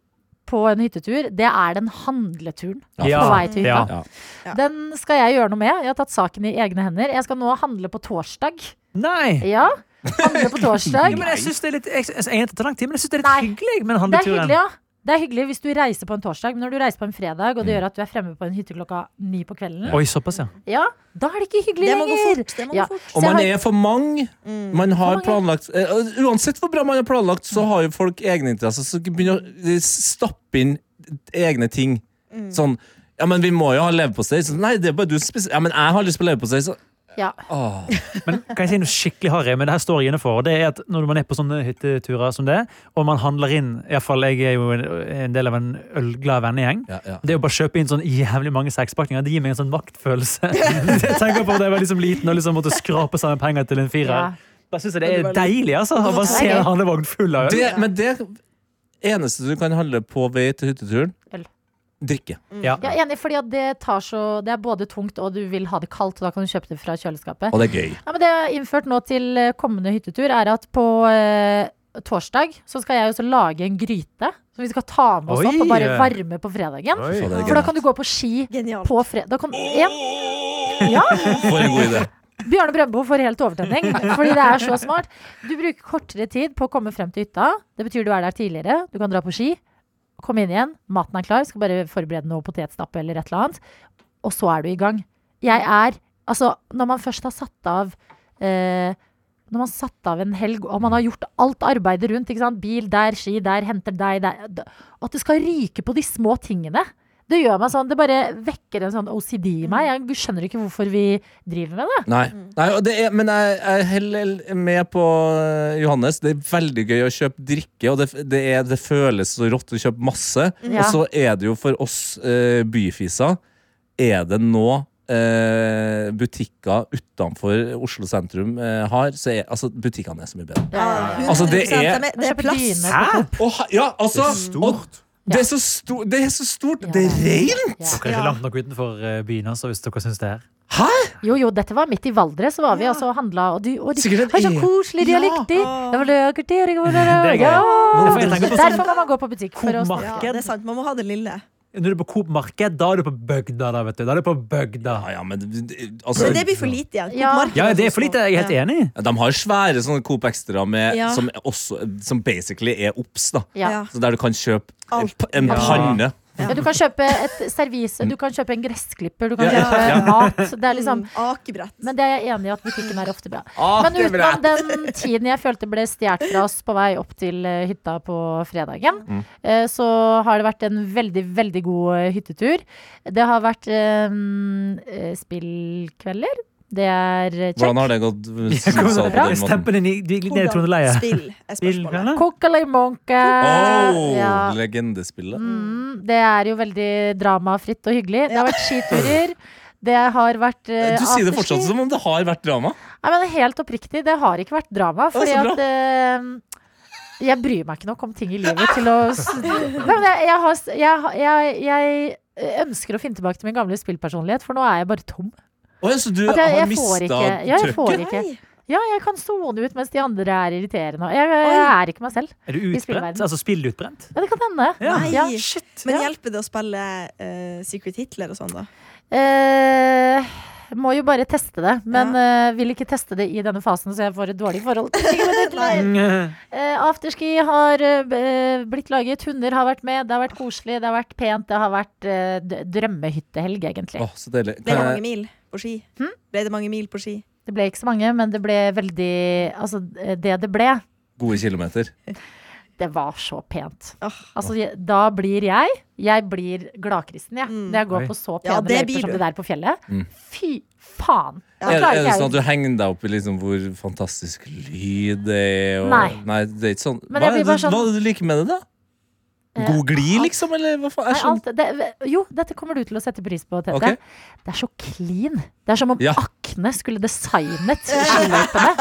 [SPEAKER 6] på en hyttetur, det er den handleturen
[SPEAKER 2] Ja,
[SPEAKER 6] på vei til hytta.
[SPEAKER 4] ja.
[SPEAKER 3] Ja.
[SPEAKER 6] Den skal jeg gjøre noe med. Jeg har tatt saken i egne hender. Jeg skal nå handle på torsdag.
[SPEAKER 4] Nei!
[SPEAKER 6] Ja, handle på
[SPEAKER 4] Ja,
[SPEAKER 3] <laughs>
[SPEAKER 6] torsdag.
[SPEAKER 4] men jeg synes det er litt jeg, jeg, jeg, tar lang tid, men jeg synes det er litt
[SPEAKER 6] Nei.
[SPEAKER 4] hyggelig med den
[SPEAKER 6] Det er hyggelig,
[SPEAKER 4] handleturen.
[SPEAKER 6] ja. Det er hyggelig hvis du reiser på en torsdag, men når du reiser på en fredag, og
[SPEAKER 2] Mm.
[SPEAKER 6] det gjør at du er fremme på en hytte klokka ni på kvelden,
[SPEAKER 4] Oi, såpass, ja.
[SPEAKER 6] ja, da er det ikke hyggelig
[SPEAKER 3] Det må gå
[SPEAKER 6] lenger.
[SPEAKER 3] fort. Det må
[SPEAKER 6] Ja.
[SPEAKER 3] gå
[SPEAKER 2] Og
[SPEAKER 3] fort.
[SPEAKER 6] Så jeg
[SPEAKER 2] man
[SPEAKER 6] har- Mm.
[SPEAKER 2] er for mange. Man har
[SPEAKER 6] mange.
[SPEAKER 2] planlagt eh, og Uansett hvor bra man har planlagt, så har jo folk egeninteresser som begynner å eh, stappe inn egne ting.
[SPEAKER 6] Mm.
[SPEAKER 2] Sånn Ja, men vi må jo ha leverpostei. Så, Nei, det er bare du som spiser Ja, men jeg har lyst på leverpostei, så ah,
[SPEAKER 6] Ja.
[SPEAKER 2] Åh.
[SPEAKER 4] Men kan jeg si noe skikkelig harry, men det her står jeg inne for. og Det er at Når man er på sånne hytteturer som det, og man handler inn i hvert fall, Jeg er jo en, en del av en ølglad vennegjeng.
[SPEAKER 2] Ja,
[SPEAKER 6] <laughs>
[SPEAKER 2] ja.
[SPEAKER 4] Det å bare kjøpe inn sånn jævlig mange sekspakninger, det gir meg en sånn maktfølelse. <laughs> jeg tenker på da jeg var liksom liten og liksom måtte skrape sammen penger til en
[SPEAKER 6] Ja.
[SPEAKER 4] firer. Da syns jeg det er deilig altså, å bare se
[SPEAKER 6] deilig.
[SPEAKER 4] en handlevogn full av øl.
[SPEAKER 2] Det, men det eneste du kan handle på vei til hytteturen
[SPEAKER 6] Øl.
[SPEAKER 2] Drikke.
[SPEAKER 4] Ja.
[SPEAKER 6] Ja, enig, fordi at det, tar så, det er både tungt, og du vil ha det kaldt, og da kan du kjøpe det fra kjøleskapet.
[SPEAKER 2] Og det er gøy.
[SPEAKER 6] Ja, men det jeg har innført nå til eh, kommende hyttetur, er at på eh, torsdag så skal jeg også lage en gryte som vi skal ta med oss opp
[SPEAKER 4] Oi.
[SPEAKER 6] og bare varme på fredagen.
[SPEAKER 5] Oi.
[SPEAKER 2] Så det er
[SPEAKER 6] For da
[SPEAKER 2] genialt.
[SPEAKER 6] kan du gå på ski
[SPEAKER 3] Genialt.
[SPEAKER 6] på fredag. Da kan ja. ja,
[SPEAKER 2] For en god idé.
[SPEAKER 6] Bjarne Brøndbo får helt overtenning, fordi det er så smart. Du bruker kortere tid på å komme frem til hytta. Det betyr du er der tidligere. Du kan dra på ski, komme inn igjen, maten er klar, skal bare forberede noe potetstappe eller et eller annet. Og så er du i gang. Jeg er Altså, når man først har satt av eh, når man satt av en helg, og man har gjort alt arbeidet rundt ikke sant? Bil der, ski der, henter deg der d- At det skal ryke på de små tingene. Det gjør meg sånn, det bare vekker en sånn OCD i meg. Jeg skjønner ikke hvorfor vi driver med det.
[SPEAKER 2] Nei, Nei og det er, men jeg, jeg er heller med på eh, Johannes. Det er veldig gøy å kjøpe drikke, og det, det, er, det føles så rått å kjøpe masse.
[SPEAKER 6] Ja.
[SPEAKER 2] Og så er det jo for oss eh, byfiser Er det nå eh, butikker utenfor Oslo sentrum eh, har, så er altså butikkene er så mye bedre. Altså, det er-
[SPEAKER 3] 100% Det er
[SPEAKER 6] Kjøpe
[SPEAKER 3] plass.
[SPEAKER 6] dyne.
[SPEAKER 4] Hæ?
[SPEAKER 2] Og, ha- ja, altså,
[SPEAKER 5] Det er stort.
[SPEAKER 2] Og, det, er så sto, det er så stort!
[SPEAKER 6] Ja.
[SPEAKER 2] Det er rent!
[SPEAKER 6] Ja.
[SPEAKER 4] Dere er ikke langt nok utenfor eh, byen altså, hvis dere syns det er
[SPEAKER 2] Hæ?!
[SPEAKER 6] Jo, jo, dette var midt i Valdres, så var vi
[SPEAKER 3] Ja.
[SPEAKER 6] altså og handla, og de, og de
[SPEAKER 2] Sikkert en
[SPEAKER 6] har så
[SPEAKER 2] E.
[SPEAKER 6] koselige
[SPEAKER 2] Ja.
[SPEAKER 6] dialekter. Det var løker, det var-
[SPEAKER 4] Det er gøy.
[SPEAKER 6] Ja.
[SPEAKER 4] Det får jeg tenke på
[SPEAKER 6] Derfor
[SPEAKER 4] sånn,
[SPEAKER 6] må man gå på butikk for å
[SPEAKER 4] Koma.
[SPEAKER 3] Ja, det er sant. Man må ha det lille.
[SPEAKER 4] Når du er på Coop Marked, da er du på bygda, da, vet du. Da er du på bygda.
[SPEAKER 2] Ja, ja, men det- altså,
[SPEAKER 3] Men det blir for lite igjen.
[SPEAKER 6] Ja.
[SPEAKER 3] Markedet
[SPEAKER 4] Ja, det er for
[SPEAKER 3] så
[SPEAKER 4] lite. Jeg er helt
[SPEAKER 3] små.
[SPEAKER 4] enig.
[SPEAKER 2] De har svære sånne Coop Extra med,
[SPEAKER 3] Ja.
[SPEAKER 2] som, også, som basically er obs. da
[SPEAKER 6] ja.
[SPEAKER 3] Ja.
[SPEAKER 2] Så der du kan kjøpe en,
[SPEAKER 3] Alt.
[SPEAKER 2] p- en
[SPEAKER 6] Ja.
[SPEAKER 2] panne.
[SPEAKER 6] ja, Du kan kjøpe et servise, du kan kjøpe en gressklipper, du kan
[SPEAKER 2] Ja, ja,
[SPEAKER 6] kjøpe
[SPEAKER 2] ja.
[SPEAKER 6] mat. Det er liksom
[SPEAKER 3] Mm, Akebrett.
[SPEAKER 6] Men det er jeg enig i at butikken er ofte bra.
[SPEAKER 2] Ah,
[SPEAKER 6] Men
[SPEAKER 2] det er bra.
[SPEAKER 6] utenom den tiden jeg følte ble stjålet fra oss på vei opp til eh, hytta på fredagen,
[SPEAKER 2] Mm.
[SPEAKER 6] eh, så har det vært en veldig, veldig god eh, hyttetur. Det har vært eh, eh, spillkvelder. Det er eh,
[SPEAKER 2] Hvordan
[SPEAKER 6] check.
[SPEAKER 2] har det gått? hvis du sa det på den måten?
[SPEAKER 4] Stempen din gikk gikk ned i
[SPEAKER 3] Hvordan
[SPEAKER 4] troneleie.
[SPEAKER 3] spill er spørsmålet.
[SPEAKER 6] Kokali Monke.
[SPEAKER 2] Oh,
[SPEAKER 6] Eh, Ja.
[SPEAKER 2] Legendespillet.
[SPEAKER 6] Mm, det er jo veldig dramafritt og hyggelig. Det har vært
[SPEAKER 2] <laughs>
[SPEAKER 6] skiturer. Det har vært eh,
[SPEAKER 2] Du sier det
[SPEAKER 6] afterski.
[SPEAKER 2] fortsatt som om det har vært drama.
[SPEAKER 6] Nei, men Helt oppriktig, det har ikke vært drama.
[SPEAKER 2] så
[SPEAKER 6] Fordi at eh, Jeg bryr meg ikke nok om ting i livet til å s- Nei, men jeg, jeg, har, s- jeg, har- jeg, jeg eh, ønsker å finne tilbake til min gamle spillpersonlighet, for nå er jeg bare tom.
[SPEAKER 2] Å, ja, så du
[SPEAKER 6] At jeg,
[SPEAKER 2] har
[SPEAKER 6] Altså, jeg får
[SPEAKER 2] mista
[SPEAKER 6] ikke Ja, jeg får
[SPEAKER 2] trøkket?
[SPEAKER 6] ikke.
[SPEAKER 3] Nei.
[SPEAKER 6] Ja, jeg kan sone ut mens de andre er irriterende. Jeg, jeg, jeg er ikke meg selv.
[SPEAKER 4] Er du
[SPEAKER 6] I spillverden.
[SPEAKER 4] utbrent? Altså, spiller du utbrent?
[SPEAKER 6] Ja, det kan hende.
[SPEAKER 4] Ja.
[SPEAKER 3] Nei.
[SPEAKER 6] Ja.
[SPEAKER 4] Shit.
[SPEAKER 3] Men
[SPEAKER 6] Ja.
[SPEAKER 3] hjelper det å spille eh, Secret Hitler og sånn, da?
[SPEAKER 6] Eh, må jo bare teste det, men eh, vil ikke teste det i denne fasen, så jeg får et dårlig forhold.
[SPEAKER 3] Nei.
[SPEAKER 4] Mm,
[SPEAKER 6] Eh, afterski har eh, b- eh, blitt laget, hunder har vært med, det har vært koselig, det har vært pent, det har vært eh, d- drømmehyttehelg, egentlig.
[SPEAKER 2] Å, så deilig.
[SPEAKER 3] Ble det
[SPEAKER 2] Kan
[SPEAKER 3] mange
[SPEAKER 2] jeg,
[SPEAKER 3] mil på ski?
[SPEAKER 6] Hm?
[SPEAKER 3] Ble det mange mil på ski?
[SPEAKER 6] Det ble ikke så mange, men det ble veldig Altså, det det ble,
[SPEAKER 2] gode kilometer.
[SPEAKER 6] det var så pent.
[SPEAKER 3] Åh.
[SPEAKER 6] Altså, jeg- da blir jeg Jeg blir gladkristen, jeg. Når jeg går
[SPEAKER 4] Oi.
[SPEAKER 6] på så pene
[SPEAKER 3] Mm. Ja, det blir
[SPEAKER 6] løyper som
[SPEAKER 3] du.
[SPEAKER 6] det der på fjellet. Fy faen! Da
[SPEAKER 2] Mm. Er, er
[SPEAKER 6] klarer
[SPEAKER 2] det
[SPEAKER 6] ikke jeg
[SPEAKER 2] sånn at du henger deg opp i liksom hvor fantastisk lyd det er? Og,
[SPEAKER 6] Nei.
[SPEAKER 2] det er ikke sånn.
[SPEAKER 6] Men
[SPEAKER 2] Hva
[SPEAKER 6] jeg
[SPEAKER 2] er
[SPEAKER 6] blir
[SPEAKER 2] det,
[SPEAKER 6] bare sånn-
[SPEAKER 2] hva er det du liker med det, da?
[SPEAKER 6] Eh,
[SPEAKER 2] God glid, liksom? Eller hva faen?
[SPEAKER 6] Nei,
[SPEAKER 2] Jeg skjønner.
[SPEAKER 6] alt, det, jo, dette kommer du til å sette pris på, Tete.
[SPEAKER 2] Ok.
[SPEAKER 6] Det er så clean. Det er som om
[SPEAKER 2] Ja.
[SPEAKER 6] akne skulle designet skiløypene.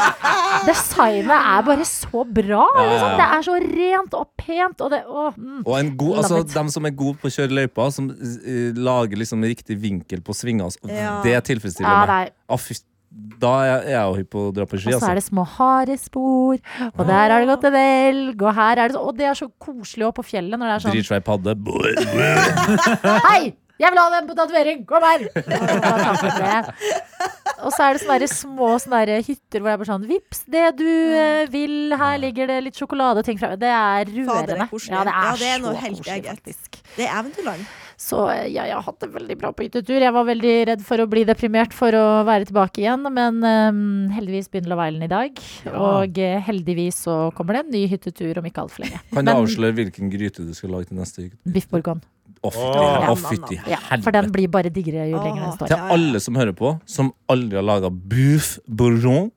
[SPEAKER 6] Designet er bare så bra.
[SPEAKER 2] Ja, ja,
[SPEAKER 6] Liksom.
[SPEAKER 2] ja.
[SPEAKER 6] Det er så rent og pent. Og det, å, mm.
[SPEAKER 2] Og en god, altså,
[SPEAKER 6] Love it.
[SPEAKER 2] dem som er gode på å kjøre løypa, som eh, lager liksom riktig vinkel på svinga, altså,
[SPEAKER 3] Ja.
[SPEAKER 2] det tilfredsstiller
[SPEAKER 6] ja,
[SPEAKER 2] meg.
[SPEAKER 6] nei.
[SPEAKER 2] Ah, fy, da er jeg- jeg er jo hypp på å dra på ski.
[SPEAKER 6] Og så
[SPEAKER 2] Altså.
[SPEAKER 6] er det små harespor, og der har det gått en elg, og her er det så Og det er så koselig også på fjellet når det er sånn
[SPEAKER 2] Dritsvei padde. Brr, brr.
[SPEAKER 6] Hei! Jeg vil ha den på tatovering! Kom her! <laughs> Og så er det sånne der små sånne der hytter hvor det er bare sånn Vips, det du eh, vil. Her ligger det litt sjokolade og ting fra Det er
[SPEAKER 3] Fader, det er
[SPEAKER 6] rørende.
[SPEAKER 3] koselig.
[SPEAKER 6] Ja, det er,
[SPEAKER 3] Ja, det er noe
[SPEAKER 6] så
[SPEAKER 3] helt
[SPEAKER 6] koselig,
[SPEAKER 3] eget.
[SPEAKER 6] faktisk.
[SPEAKER 3] Det er eventyrland.
[SPEAKER 6] Så eh, ja, jeg har hatt det veldig bra på hyttetur. Jeg var veldig redd for å bli deprimert for å være tilbake igjen, men eh, heldigvis begynner Laveilen i dag. Og eh, heldigvis så kommer det en ny hyttetur om ikke altfor lenge.
[SPEAKER 2] Kan du
[SPEAKER 6] Men-
[SPEAKER 2] avsløre hvilken gryte du skal lage til neste uke?
[SPEAKER 6] Biff Borgon.
[SPEAKER 2] Å, fy-
[SPEAKER 5] Åh.
[SPEAKER 2] å, fytti
[SPEAKER 6] Ja, for den
[SPEAKER 2] helvete.
[SPEAKER 6] blir bare diggere jo lenger den
[SPEAKER 3] Åh.
[SPEAKER 6] står.
[SPEAKER 2] Til
[SPEAKER 3] Ja, ja.
[SPEAKER 2] alle som hører på, som aldri har laga bouffe bourgeon,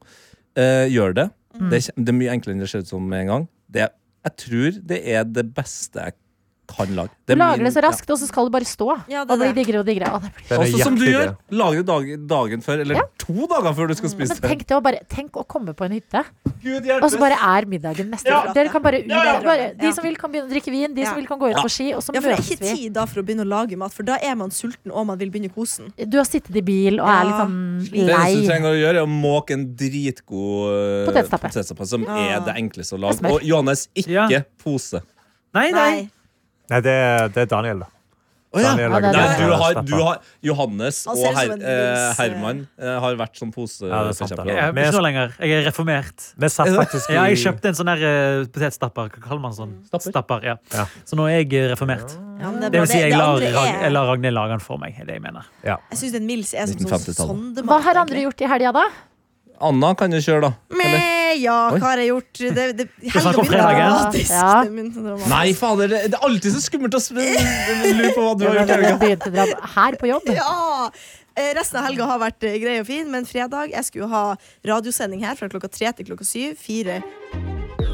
[SPEAKER 2] eh, gjør det.
[SPEAKER 6] Mm.
[SPEAKER 2] Det, er, kjem- det er mye enklere enn det ser ut som med en gang. Det er, jeg tror det er det beste jeg kan lage.
[SPEAKER 6] Du
[SPEAKER 2] er
[SPEAKER 6] lager
[SPEAKER 2] min-
[SPEAKER 6] det så
[SPEAKER 2] ja.
[SPEAKER 6] raskt, og så skal det bare stå.
[SPEAKER 3] Ja, det er
[SPEAKER 6] og bli
[SPEAKER 3] det.
[SPEAKER 6] diggere og diggere. Å, det blir...
[SPEAKER 5] Det er
[SPEAKER 2] Også som du
[SPEAKER 5] jæklig
[SPEAKER 2] gjør.
[SPEAKER 5] det.
[SPEAKER 2] Lag det dag, dagen før, eller to dager før du skal spise
[SPEAKER 6] Mm, Men
[SPEAKER 2] det.
[SPEAKER 6] tenk, det å bare, tenk å komme på en hytte,
[SPEAKER 2] Gud
[SPEAKER 6] og så bare er middagen neste
[SPEAKER 3] Ja.
[SPEAKER 6] uke. Dere kan bare ut.
[SPEAKER 3] ja.
[SPEAKER 6] Bare, de
[SPEAKER 3] Ja.
[SPEAKER 6] som vil, kan begynne å drikke vin. De
[SPEAKER 3] Ja.
[SPEAKER 6] som vil, kan gå ut på ski. Og så
[SPEAKER 3] Ja, for det er
[SPEAKER 6] møtes
[SPEAKER 3] ikke
[SPEAKER 6] vi.
[SPEAKER 3] tid da for å begynne å lage mat, for da er man sulten og man vil begynne kosen.
[SPEAKER 6] Du har sittet i bil og er litt
[SPEAKER 3] Ja.
[SPEAKER 6] sånn
[SPEAKER 2] Det eneste du
[SPEAKER 6] lei.
[SPEAKER 2] trenger å gjøre, er å måke en dritgod eh,
[SPEAKER 6] Potetstappe.
[SPEAKER 2] potetstappe, som
[SPEAKER 3] Ja.
[SPEAKER 2] er det enkleste å
[SPEAKER 6] Og
[SPEAKER 2] lage.
[SPEAKER 6] smør.
[SPEAKER 2] Og Johannes, ikke
[SPEAKER 4] Ja.
[SPEAKER 2] pose.
[SPEAKER 4] Nei, nei.
[SPEAKER 5] Nei, det, er- det er Daniel, da. Daniel
[SPEAKER 6] Ja, det er
[SPEAKER 5] lager
[SPEAKER 2] Nei,
[SPEAKER 6] det.
[SPEAKER 5] bedre
[SPEAKER 2] du har,
[SPEAKER 5] stapper.
[SPEAKER 2] du har, Johannes
[SPEAKER 3] Han
[SPEAKER 2] og
[SPEAKER 3] ser ut
[SPEAKER 2] Her,
[SPEAKER 3] som en
[SPEAKER 2] eh,
[SPEAKER 3] lus, eh.
[SPEAKER 2] Herman eh, har vært som
[SPEAKER 5] Ja, det er sant,
[SPEAKER 2] poseforkjempere.
[SPEAKER 5] da.
[SPEAKER 4] Jeg er ikke nå lenger. Jeg er reformert.
[SPEAKER 5] Vi satt faktisk i
[SPEAKER 4] Ja, jeg kjøpte en sånn der eh, potetstapper. Hva kaller man sånn? Stapper. ja.
[SPEAKER 5] Ja.
[SPEAKER 4] Så nå er jeg eh, reformert.
[SPEAKER 3] Ah. Ja, men det er
[SPEAKER 4] Det
[SPEAKER 3] bra.
[SPEAKER 4] vil si, jeg lar,
[SPEAKER 3] andre
[SPEAKER 4] Rag- jeg
[SPEAKER 3] er-
[SPEAKER 4] lar Ragnhild lage den for meg. er det jeg mener.
[SPEAKER 3] Jeg syns den Mils er som sånn
[SPEAKER 2] 1950-tallet.
[SPEAKER 3] sondemat.
[SPEAKER 6] Hva har
[SPEAKER 3] egentlig.
[SPEAKER 6] andre gjort i helga, da?
[SPEAKER 2] Anna kan jo kjøre, da. Eller?
[SPEAKER 3] Meh, ja,
[SPEAKER 2] Oi.
[SPEAKER 3] hva har jeg gjort? Det, det,
[SPEAKER 4] snakk
[SPEAKER 3] helgen begynner
[SPEAKER 4] om fredagen.
[SPEAKER 3] dramatisk.
[SPEAKER 6] Ja.
[SPEAKER 3] Det begynte dramatisk.
[SPEAKER 2] Nei, fader, det, det er alltid så skummelt å
[SPEAKER 6] <laughs>
[SPEAKER 2] sp- lure på hva du
[SPEAKER 6] Ja,
[SPEAKER 2] har
[SPEAKER 6] men
[SPEAKER 2] gjort.
[SPEAKER 6] den
[SPEAKER 2] Helga.
[SPEAKER 6] begynte å dra Her på jobb?
[SPEAKER 3] Ja! Eh, Resten av helga har vært eh, grei og fin, men fredag jeg skulle ha radiosending her fra klokka tre til klokka syv. Fire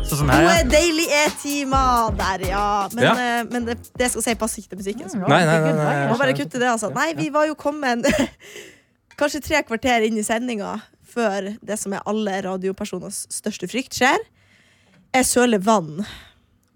[SPEAKER 4] Så sånn her,
[SPEAKER 3] gode,
[SPEAKER 4] ja.
[SPEAKER 3] deilige timer der, ja. Men,
[SPEAKER 2] Ja.
[SPEAKER 3] eh, men det, det jeg skal si passer ikke til musikken. Så.
[SPEAKER 2] Nei, nei, nei, nei,
[SPEAKER 3] Jeg Må
[SPEAKER 2] jeg
[SPEAKER 3] bare kutte det, altså. Nei, vi var jo kommet <laughs> kanskje tre kvarter inn i sendinga før det som er alle radiopersoners største frykt skjer. Jeg søler vann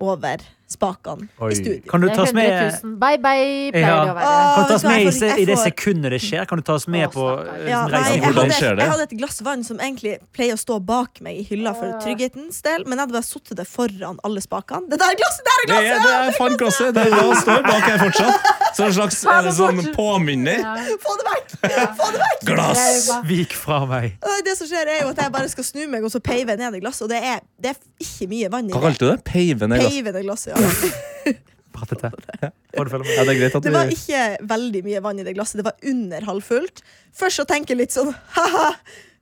[SPEAKER 3] over spakene
[SPEAKER 5] Oi.
[SPEAKER 3] i studio.
[SPEAKER 4] Kan du
[SPEAKER 6] Det
[SPEAKER 4] ta
[SPEAKER 6] er
[SPEAKER 4] oss med
[SPEAKER 6] 100 000. Bye, bye, pleier
[SPEAKER 4] Ja.
[SPEAKER 6] det å være.
[SPEAKER 3] Åh,
[SPEAKER 4] Kan du ta
[SPEAKER 3] vet
[SPEAKER 4] oss
[SPEAKER 3] du hva,
[SPEAKER 4] med i,
[SPEAKER 3] jeg får-
[SPEAKER 4] se- i det
[SPEAKER 3] jeg får-
[SPEAKER 4] sekundet det skjer? Kan du ta oss med
[SPEAKER 6] Å,
[SPEAKER 4] på
[SPEAKER 6] stakkars.
[SPEAKER 4] eh,
[SPEAKER 3] Ja,
[SPEAKER 4] sånn
[SPEAKER 3] nei,
[SPEAKER 4] reisen?
[SPEAKER 3] jeg,
[SPEAKER 2] Hvordan
[SPEAKER 3] hadde,
[SPEAKER 2] skjer det?
[SPEAKER 3] jeg hadde et glass vann som egentlig pleier å stå bak meg i hylla for trygghetens del, men jeg hadde bare sittet det foran alle spakene. Det der glasset! Der er
[SPEAKER 2] Det er,
[SPEAKER 3] glasset!
[SPEAKER 2] det er faen glasset. Det er det han står bak her fortsatt. Så en slags er det sånn påminner.
[SPEAKER 3] Få det vekk! Få det vekk!
[SPEAKER 2] Glass!
[SPEAKER 4] Vik fra meg.
[SPEAKER 3] Nei, Det som skjer, er jo at jeg bare skal snu meg, og så peiver jeg ned i glasset, og det er, det er ikke mye vann i
[SPEAKER 2] Hva kalte
[SPEAKER 3] det.
[SPEAKER 2] du det? Peiven i glasset?
[SPEAKER 3] Peivende glasset, ja.
[SPEAKER 4] Prate til. Får du følge med?
[SPEAKER 2] Ja, det er greit at
[SPEAKER 3] Det var
[SPEAKER 2] vi
[SPEAKER 3] ikke veldig mye vann i det glasset. Det var under halvfullt. Først så tenker jeg litt sånn <laughs> ha-ha,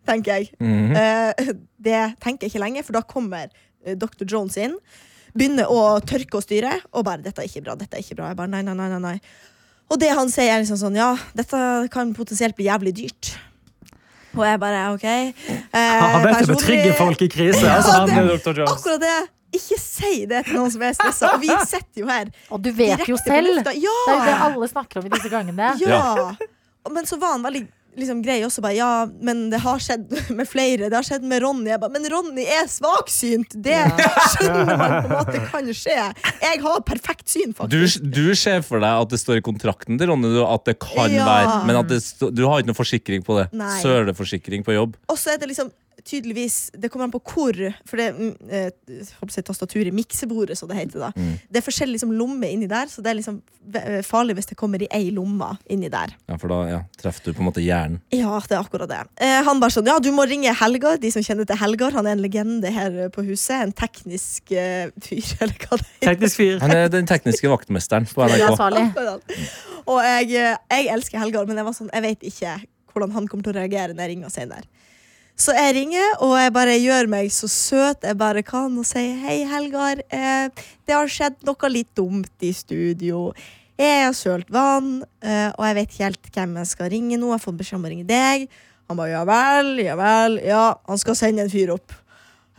[SPEAKER 3] tenker jeg.
[SPEAKER 4] Mhm.
[SPEAKER 3] Eh, det tenker jeg ikke lenge, for da kommer eh, Dr. Jones inn. Begynner å tørke og styre, og bare 'dette er ikke bra', dette er ikke bra. Jeg bare nei, nei, nei, nei, nei. Og det han sier, er liksom sånn 'ja, dette kan potensielt bli jævlig dyrt'. Og jeg bare OK. Eh,
[SPEAKER 4] Han vet å
[SPEAKER 3] personlig-
[SPEAKER 4] betrygge folk i krise. Altså,
[SPEAKER 3] Ja,
[SPEAKER 4] han
[SPEAKER 3] det-
[SPEAKER 4] er Dr. Jones.
[SPEAKER 3] Akkurat det. Ikke si det til noen som er stressa. Og vi sitter jo her.
[SPEAKER 6] Og du vet jo
[SPEAKER 3] direkte på
[SPEAKER 6] selv.
[SPEAKER 3] lufta. Ja.
[SPEAKER 6] Det er jo det alle snakker om i disse gangene.
[SPEAKER 3] Ja. Og- Men så var han veldig liksom, grei også. Bare, ja, men det har skjedd <laughs> med flere. Det har skjedd med Ronny. Jeg bare, men Ronny er svaksynt! Det skjønner man på en måte kan skje. Jeg har perfekt syn,
[SPEAKER 2] du,
[SPEAKER 3] faktisk.
[SPEAKER 2] du ser for deg at det står i kontrakten til Ronny du, at det kan
[SPEAKER 3] Ja.
[SPEAKER 2] være Men at det sto, du har ikke noe forsikring på det.
[SPEAKER 3] Nei.
[SPEAKER 2] Søleforsikring på jobb.
[SPEAKER 3] Og så er det liksom tydeligvis Det kommer an på hvor. For det mm, eh, holdt på å si tastaturet, miksebordet, som det heter. da Det er forskjellig liksom, lomme inni der, så det er liksom eh, farlig hvis det kommer i ei lomme inni der.
[SPEAKER 2] Ja, For da ja, treffer du på en måte hjernen.
[SPEAKER 3] Ja, det er akkurat det. Eh, han bare sånn, ja, du må ringe Helgar, de som kjenner til Helgar. Han er en legende her eh, på huset. En teknisk eh, fyr, <laughs> eller hva det heter.
[SPEAKER 4] Teknisk fyr.
[SPEAKER 2] Han er den tekniske vaktmesteren på
[SPEAKER 6] Ja,
[SPEAKER 2] NRK.
[SPEAKER 6] salig.
[SPEAKER 3] Og jeg, eh, jeg elsker Helgar, men jeg var sånn, jeg vet ikke hvordan han kommer til å reagere når jeg ringer senere. Så jeg ringer, og jeg bare gjør meg så søt jeg bare kan og sier hei, Helgar. Eh, det har skjedd noe litt dumt i studio. Jeg har sølt vann, eh, og jeg vet ikke helt hvem jeg skal ringe nå. Jeg har fått beskjed om å ringe deg. Han bare ja vel, ja vel. Ja, han skal sende en fyr opp.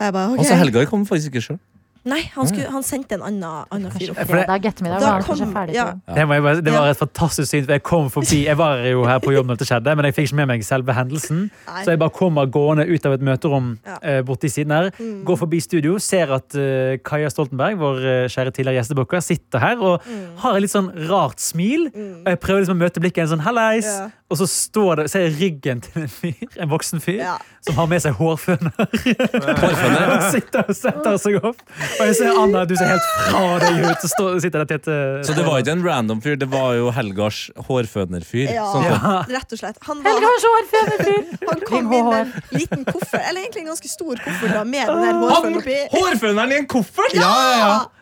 [SPEAKER 3] Og jeg bare, ok.
[SPEAKER 2] Altså, Helgar kom faktisk ikke sjøl.
[SPEAKER 3] Nei, han, skulle, han sendte en annen, annen fyr opp.
[SPEAKER 4] For det-
[SPEAKER 6] Fredag ettermiddag
[SPEAKER 3] Da
[SPEAKER 6] var han kanskje
[SPEAKER 3] kom-
[SPEAKER 6] ferdig.
[SPEAKER 3] ja.
[SPEAKER 6] tror jeg.
[SPEAKER 4] Det, må jeg bare, det
[SPEAKER 3] Ja.
[SPEAKER 4] var et fantastisk syn. for Jeg kom forbi, jeg var jo her på jobb når det skjedde, men jeg fikk ikke med meg selve hendelsen.
[SPEAKER 3] Nei.
[SPEAKER 4] Så jeg bare kommer gående ut av et møterom
[SPEAKER 3] Ja. Mm.
[SPEAKER 4] eh, borti siden her, går forbi studio, ser at eh, Kaja Stoltenberg, vår eh, kjære tidligere gjestebukker, sitter her og
[SPEAKER 3] Mm.
[SPEAKER 4] har et litt sånn rart smil. Og jeg prøver liksom å møte blikket en sånn halleis,
[SPEAKER 3] Ja.
[SPEAKER 4] og så står det, ser jeg ryggen til en fyr, en voksen fyr,
[SPEAKER 3] Ja.
[SPEAKER 4] som har med seg hårføner. <laughs> og sitter og setter seg opp. Og jeg ser Anna, du ser helt fra deg ut, så står, sitter der tett. eh,
[SPEAKER 2] Så det var ikke en random fyr, det var jo Helgars hårfønerfyr.
[SPEAKER 3] Ja,
[SPEAKER 2] Sånn,
[SPEAKER 3] rett og slett. Han,
[SPEAKER 6] Helge
[SPEAKER 3] var,
[SPEAKER 6] har så hårføner, fyr!
[SPEAKER 3] han kom
[SPEAKER 6] Ring
[SPEAKER 3] inn med
[SPEAKER 6] HHR.
[SPEAKER 3] en liten koffert, eller egentlig en ganske stor koffert, da, med den der hårfønen
[SPEAKER 2] Han,
[SPEAKER 3] oppi.
[SPEAKER 2] hårføneren i en koffert?!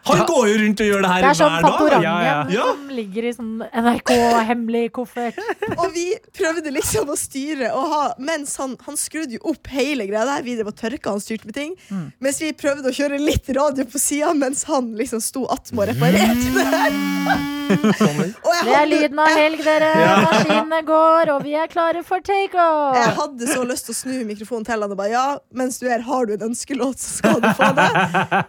[SPEAKER 2] Han går jo rundt og gjør det her
[SPEAKER 6] Det er sånn
[SPEAKER 2] hver dag.
[SPEAKER 6] Fantorangen
[SPEAKER 4] Ja, ja.
[SPEAKER 2] Ja.
[SPEAKER 6] som ligger i sånn NRK-hemmelig koffert.
[SPEAKER 3] Og vi prøvde liksom å styre og ha, mens han, han skrudde jo opp hele greia der. Vi drev og tørka han styrte med ting.
[SPEAKER 2] Mm.
[SPEAKER 3] Mens vi prøvde å kjøre litt radio på sida, mens han liksom sto attmed og reparerte det her.
[SPEAKER 2] Sånn.
[SPEAKER 3] <laughs> Og jeg
[SPEAKER 6] Det er
[SPEAKER 3] hadde,
[SPEAKER 6] lyden av helg, dere. Maskinene går, og vi er klare for
[SPEAKER 3] jeg
[SPEAKER 6] takeoff.
[SPEAKER 3] hadde så lyst til å snu mikrofonen til han og bare ja, mens du er her, har du en ønskelåt, så skal du få det.
[SPEAKER 2] <laughs>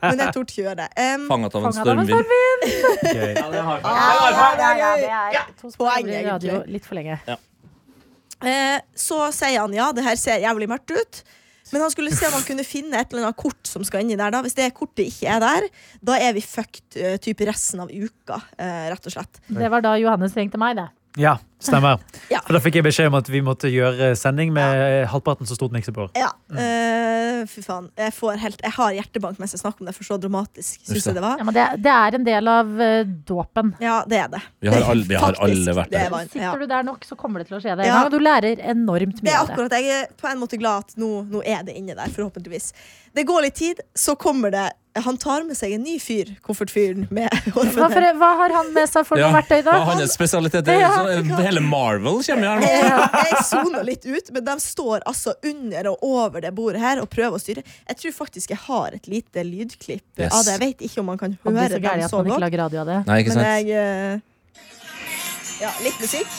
[SPEAKER 3] Men jeg torde ikke gjøre det. Em,
[SPEAKER 2] Fanget av en
[SPEAKER 6] Fanget av
[SPEAKER 2] Sånn
[SPEAKER 6] en
[SPEAKER 2] stormvind.
[SPEAKER 4] Gøy.
[SPEAKER 6] Ja, Ah, ja, ja, det er to
[SPEAKER 3] Poeng,
[SPEAKER 6] spørsmål i radio litt for lenge.
[SPEAKER 3] Eh, så sier han ja, det her ser jævlig mørkt ut. Men han skulle se om han kunne finne et eller annet kort som skal inni der. da Hvis det kortet ikke er der, da er vi fucked eh, typ resten av uka. Eh, rett og slett.
[SPEAKER 6] Det var da Johannes ringte meg, det.
[SPEAKER 4] Ja,
[SPEAKER 6] <laughs>
[SPEAKER 4] stemmer.
[SPEAKER 3] Ja.
[SPEAKER 4] For da fikk jeg beskjed om at vi måtte gjøre sending med halvparten så stort miksebord.
[SPEAKER 3] Ja, eh, fy faen. Jeg, får helt, jeg har hjertebank mens jeg snakker om det, for så dramatisk syns jeg det var.
[SPEAKER 6] Ja, men det, det er en del av eh, dåpen.
[SPEAKER 3] Ja, det er det.
[SPEAKER 2] Vi har alle- vi har
[SPEAKER 3] Faktisk,
[SPEAKER 2] alle vært
[SPEAKER 3] det
[SPEAKER 2] der.
[SPEAKER 3] var en- ja.
[SPEAKER 6] Sitter du der nok, så kommer det til å skje deg.
[SPEAKER 3] Ja.
[SPEAKER 6] Ja. Du lærer enormt
[SPEAKER 3] Det
[SPEAKER 6] mye
[SPEAKER 3] er
[SPEAKER 6] av det.
[SPEAKER 3] akkurat Jeg er på en måte glad at nå, nå er det inne der, forhåpentligvis. Det går litt tid, så kommer det Han tar med seg en ny fyr, koffertfyren med
[SPEAKER 6] Hva, for, hva har han med seg for noe verktøy, da?
[SPEAKER 2] hva er hans spesialitet Det er
[SPEAKER 6] Ja.
[SPEAKER 2] sånn- Hele Marvel kommer jo her nå.
[SPEAKER 3] Jeg <laughs> jeg soner litt ut, men de står altså under og over det bordet her og prøver å styre. Jeg tror faktisk jeg har et lite lydklipp
[SPEAKER 2] Yes.
[SPEAKER 3] av det. Jeg vet ikke om man kan
[SPEAKER 6] Han blir
[SPEAKER 3] høre
[SPEAKER 6] så
[SPEAKER 3] dem
[SPEAKER 6] gæren at
[SPEAKER 3] så
[SPEAKER 6] man ikke
[SPEAKER 3] godt.
[SPEAKER 6] lager radio av det.
[SPEAKER 2] Nei, ikke
[SPEAKER 3] Men
[SPEAKER 2] sant?
[SPEAKER 3] jeg eh, Ja, litt musikk.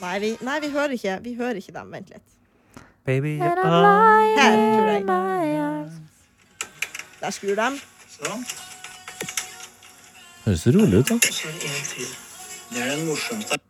[SPEAKER 3] Nei vi, nei, vi hører ikke Vi hører ikke dem. Vent litt.
[SPEAKER 4] Baby,
[SPEAKER 6] And I'm
[SPEAKER 4] ah.
[SPEAKER 6] lying
[SPEAKER 3] Her, tror
[SPEAKER 6] in
[SPEAKER 3] jeg.
[SPEAKER 6] my eyes.
[SPEAKER 3] Der skrur de.
[SPEAKER 2] Høres så rolig ut, da.
[SPEAKER 7] Det er den morsomste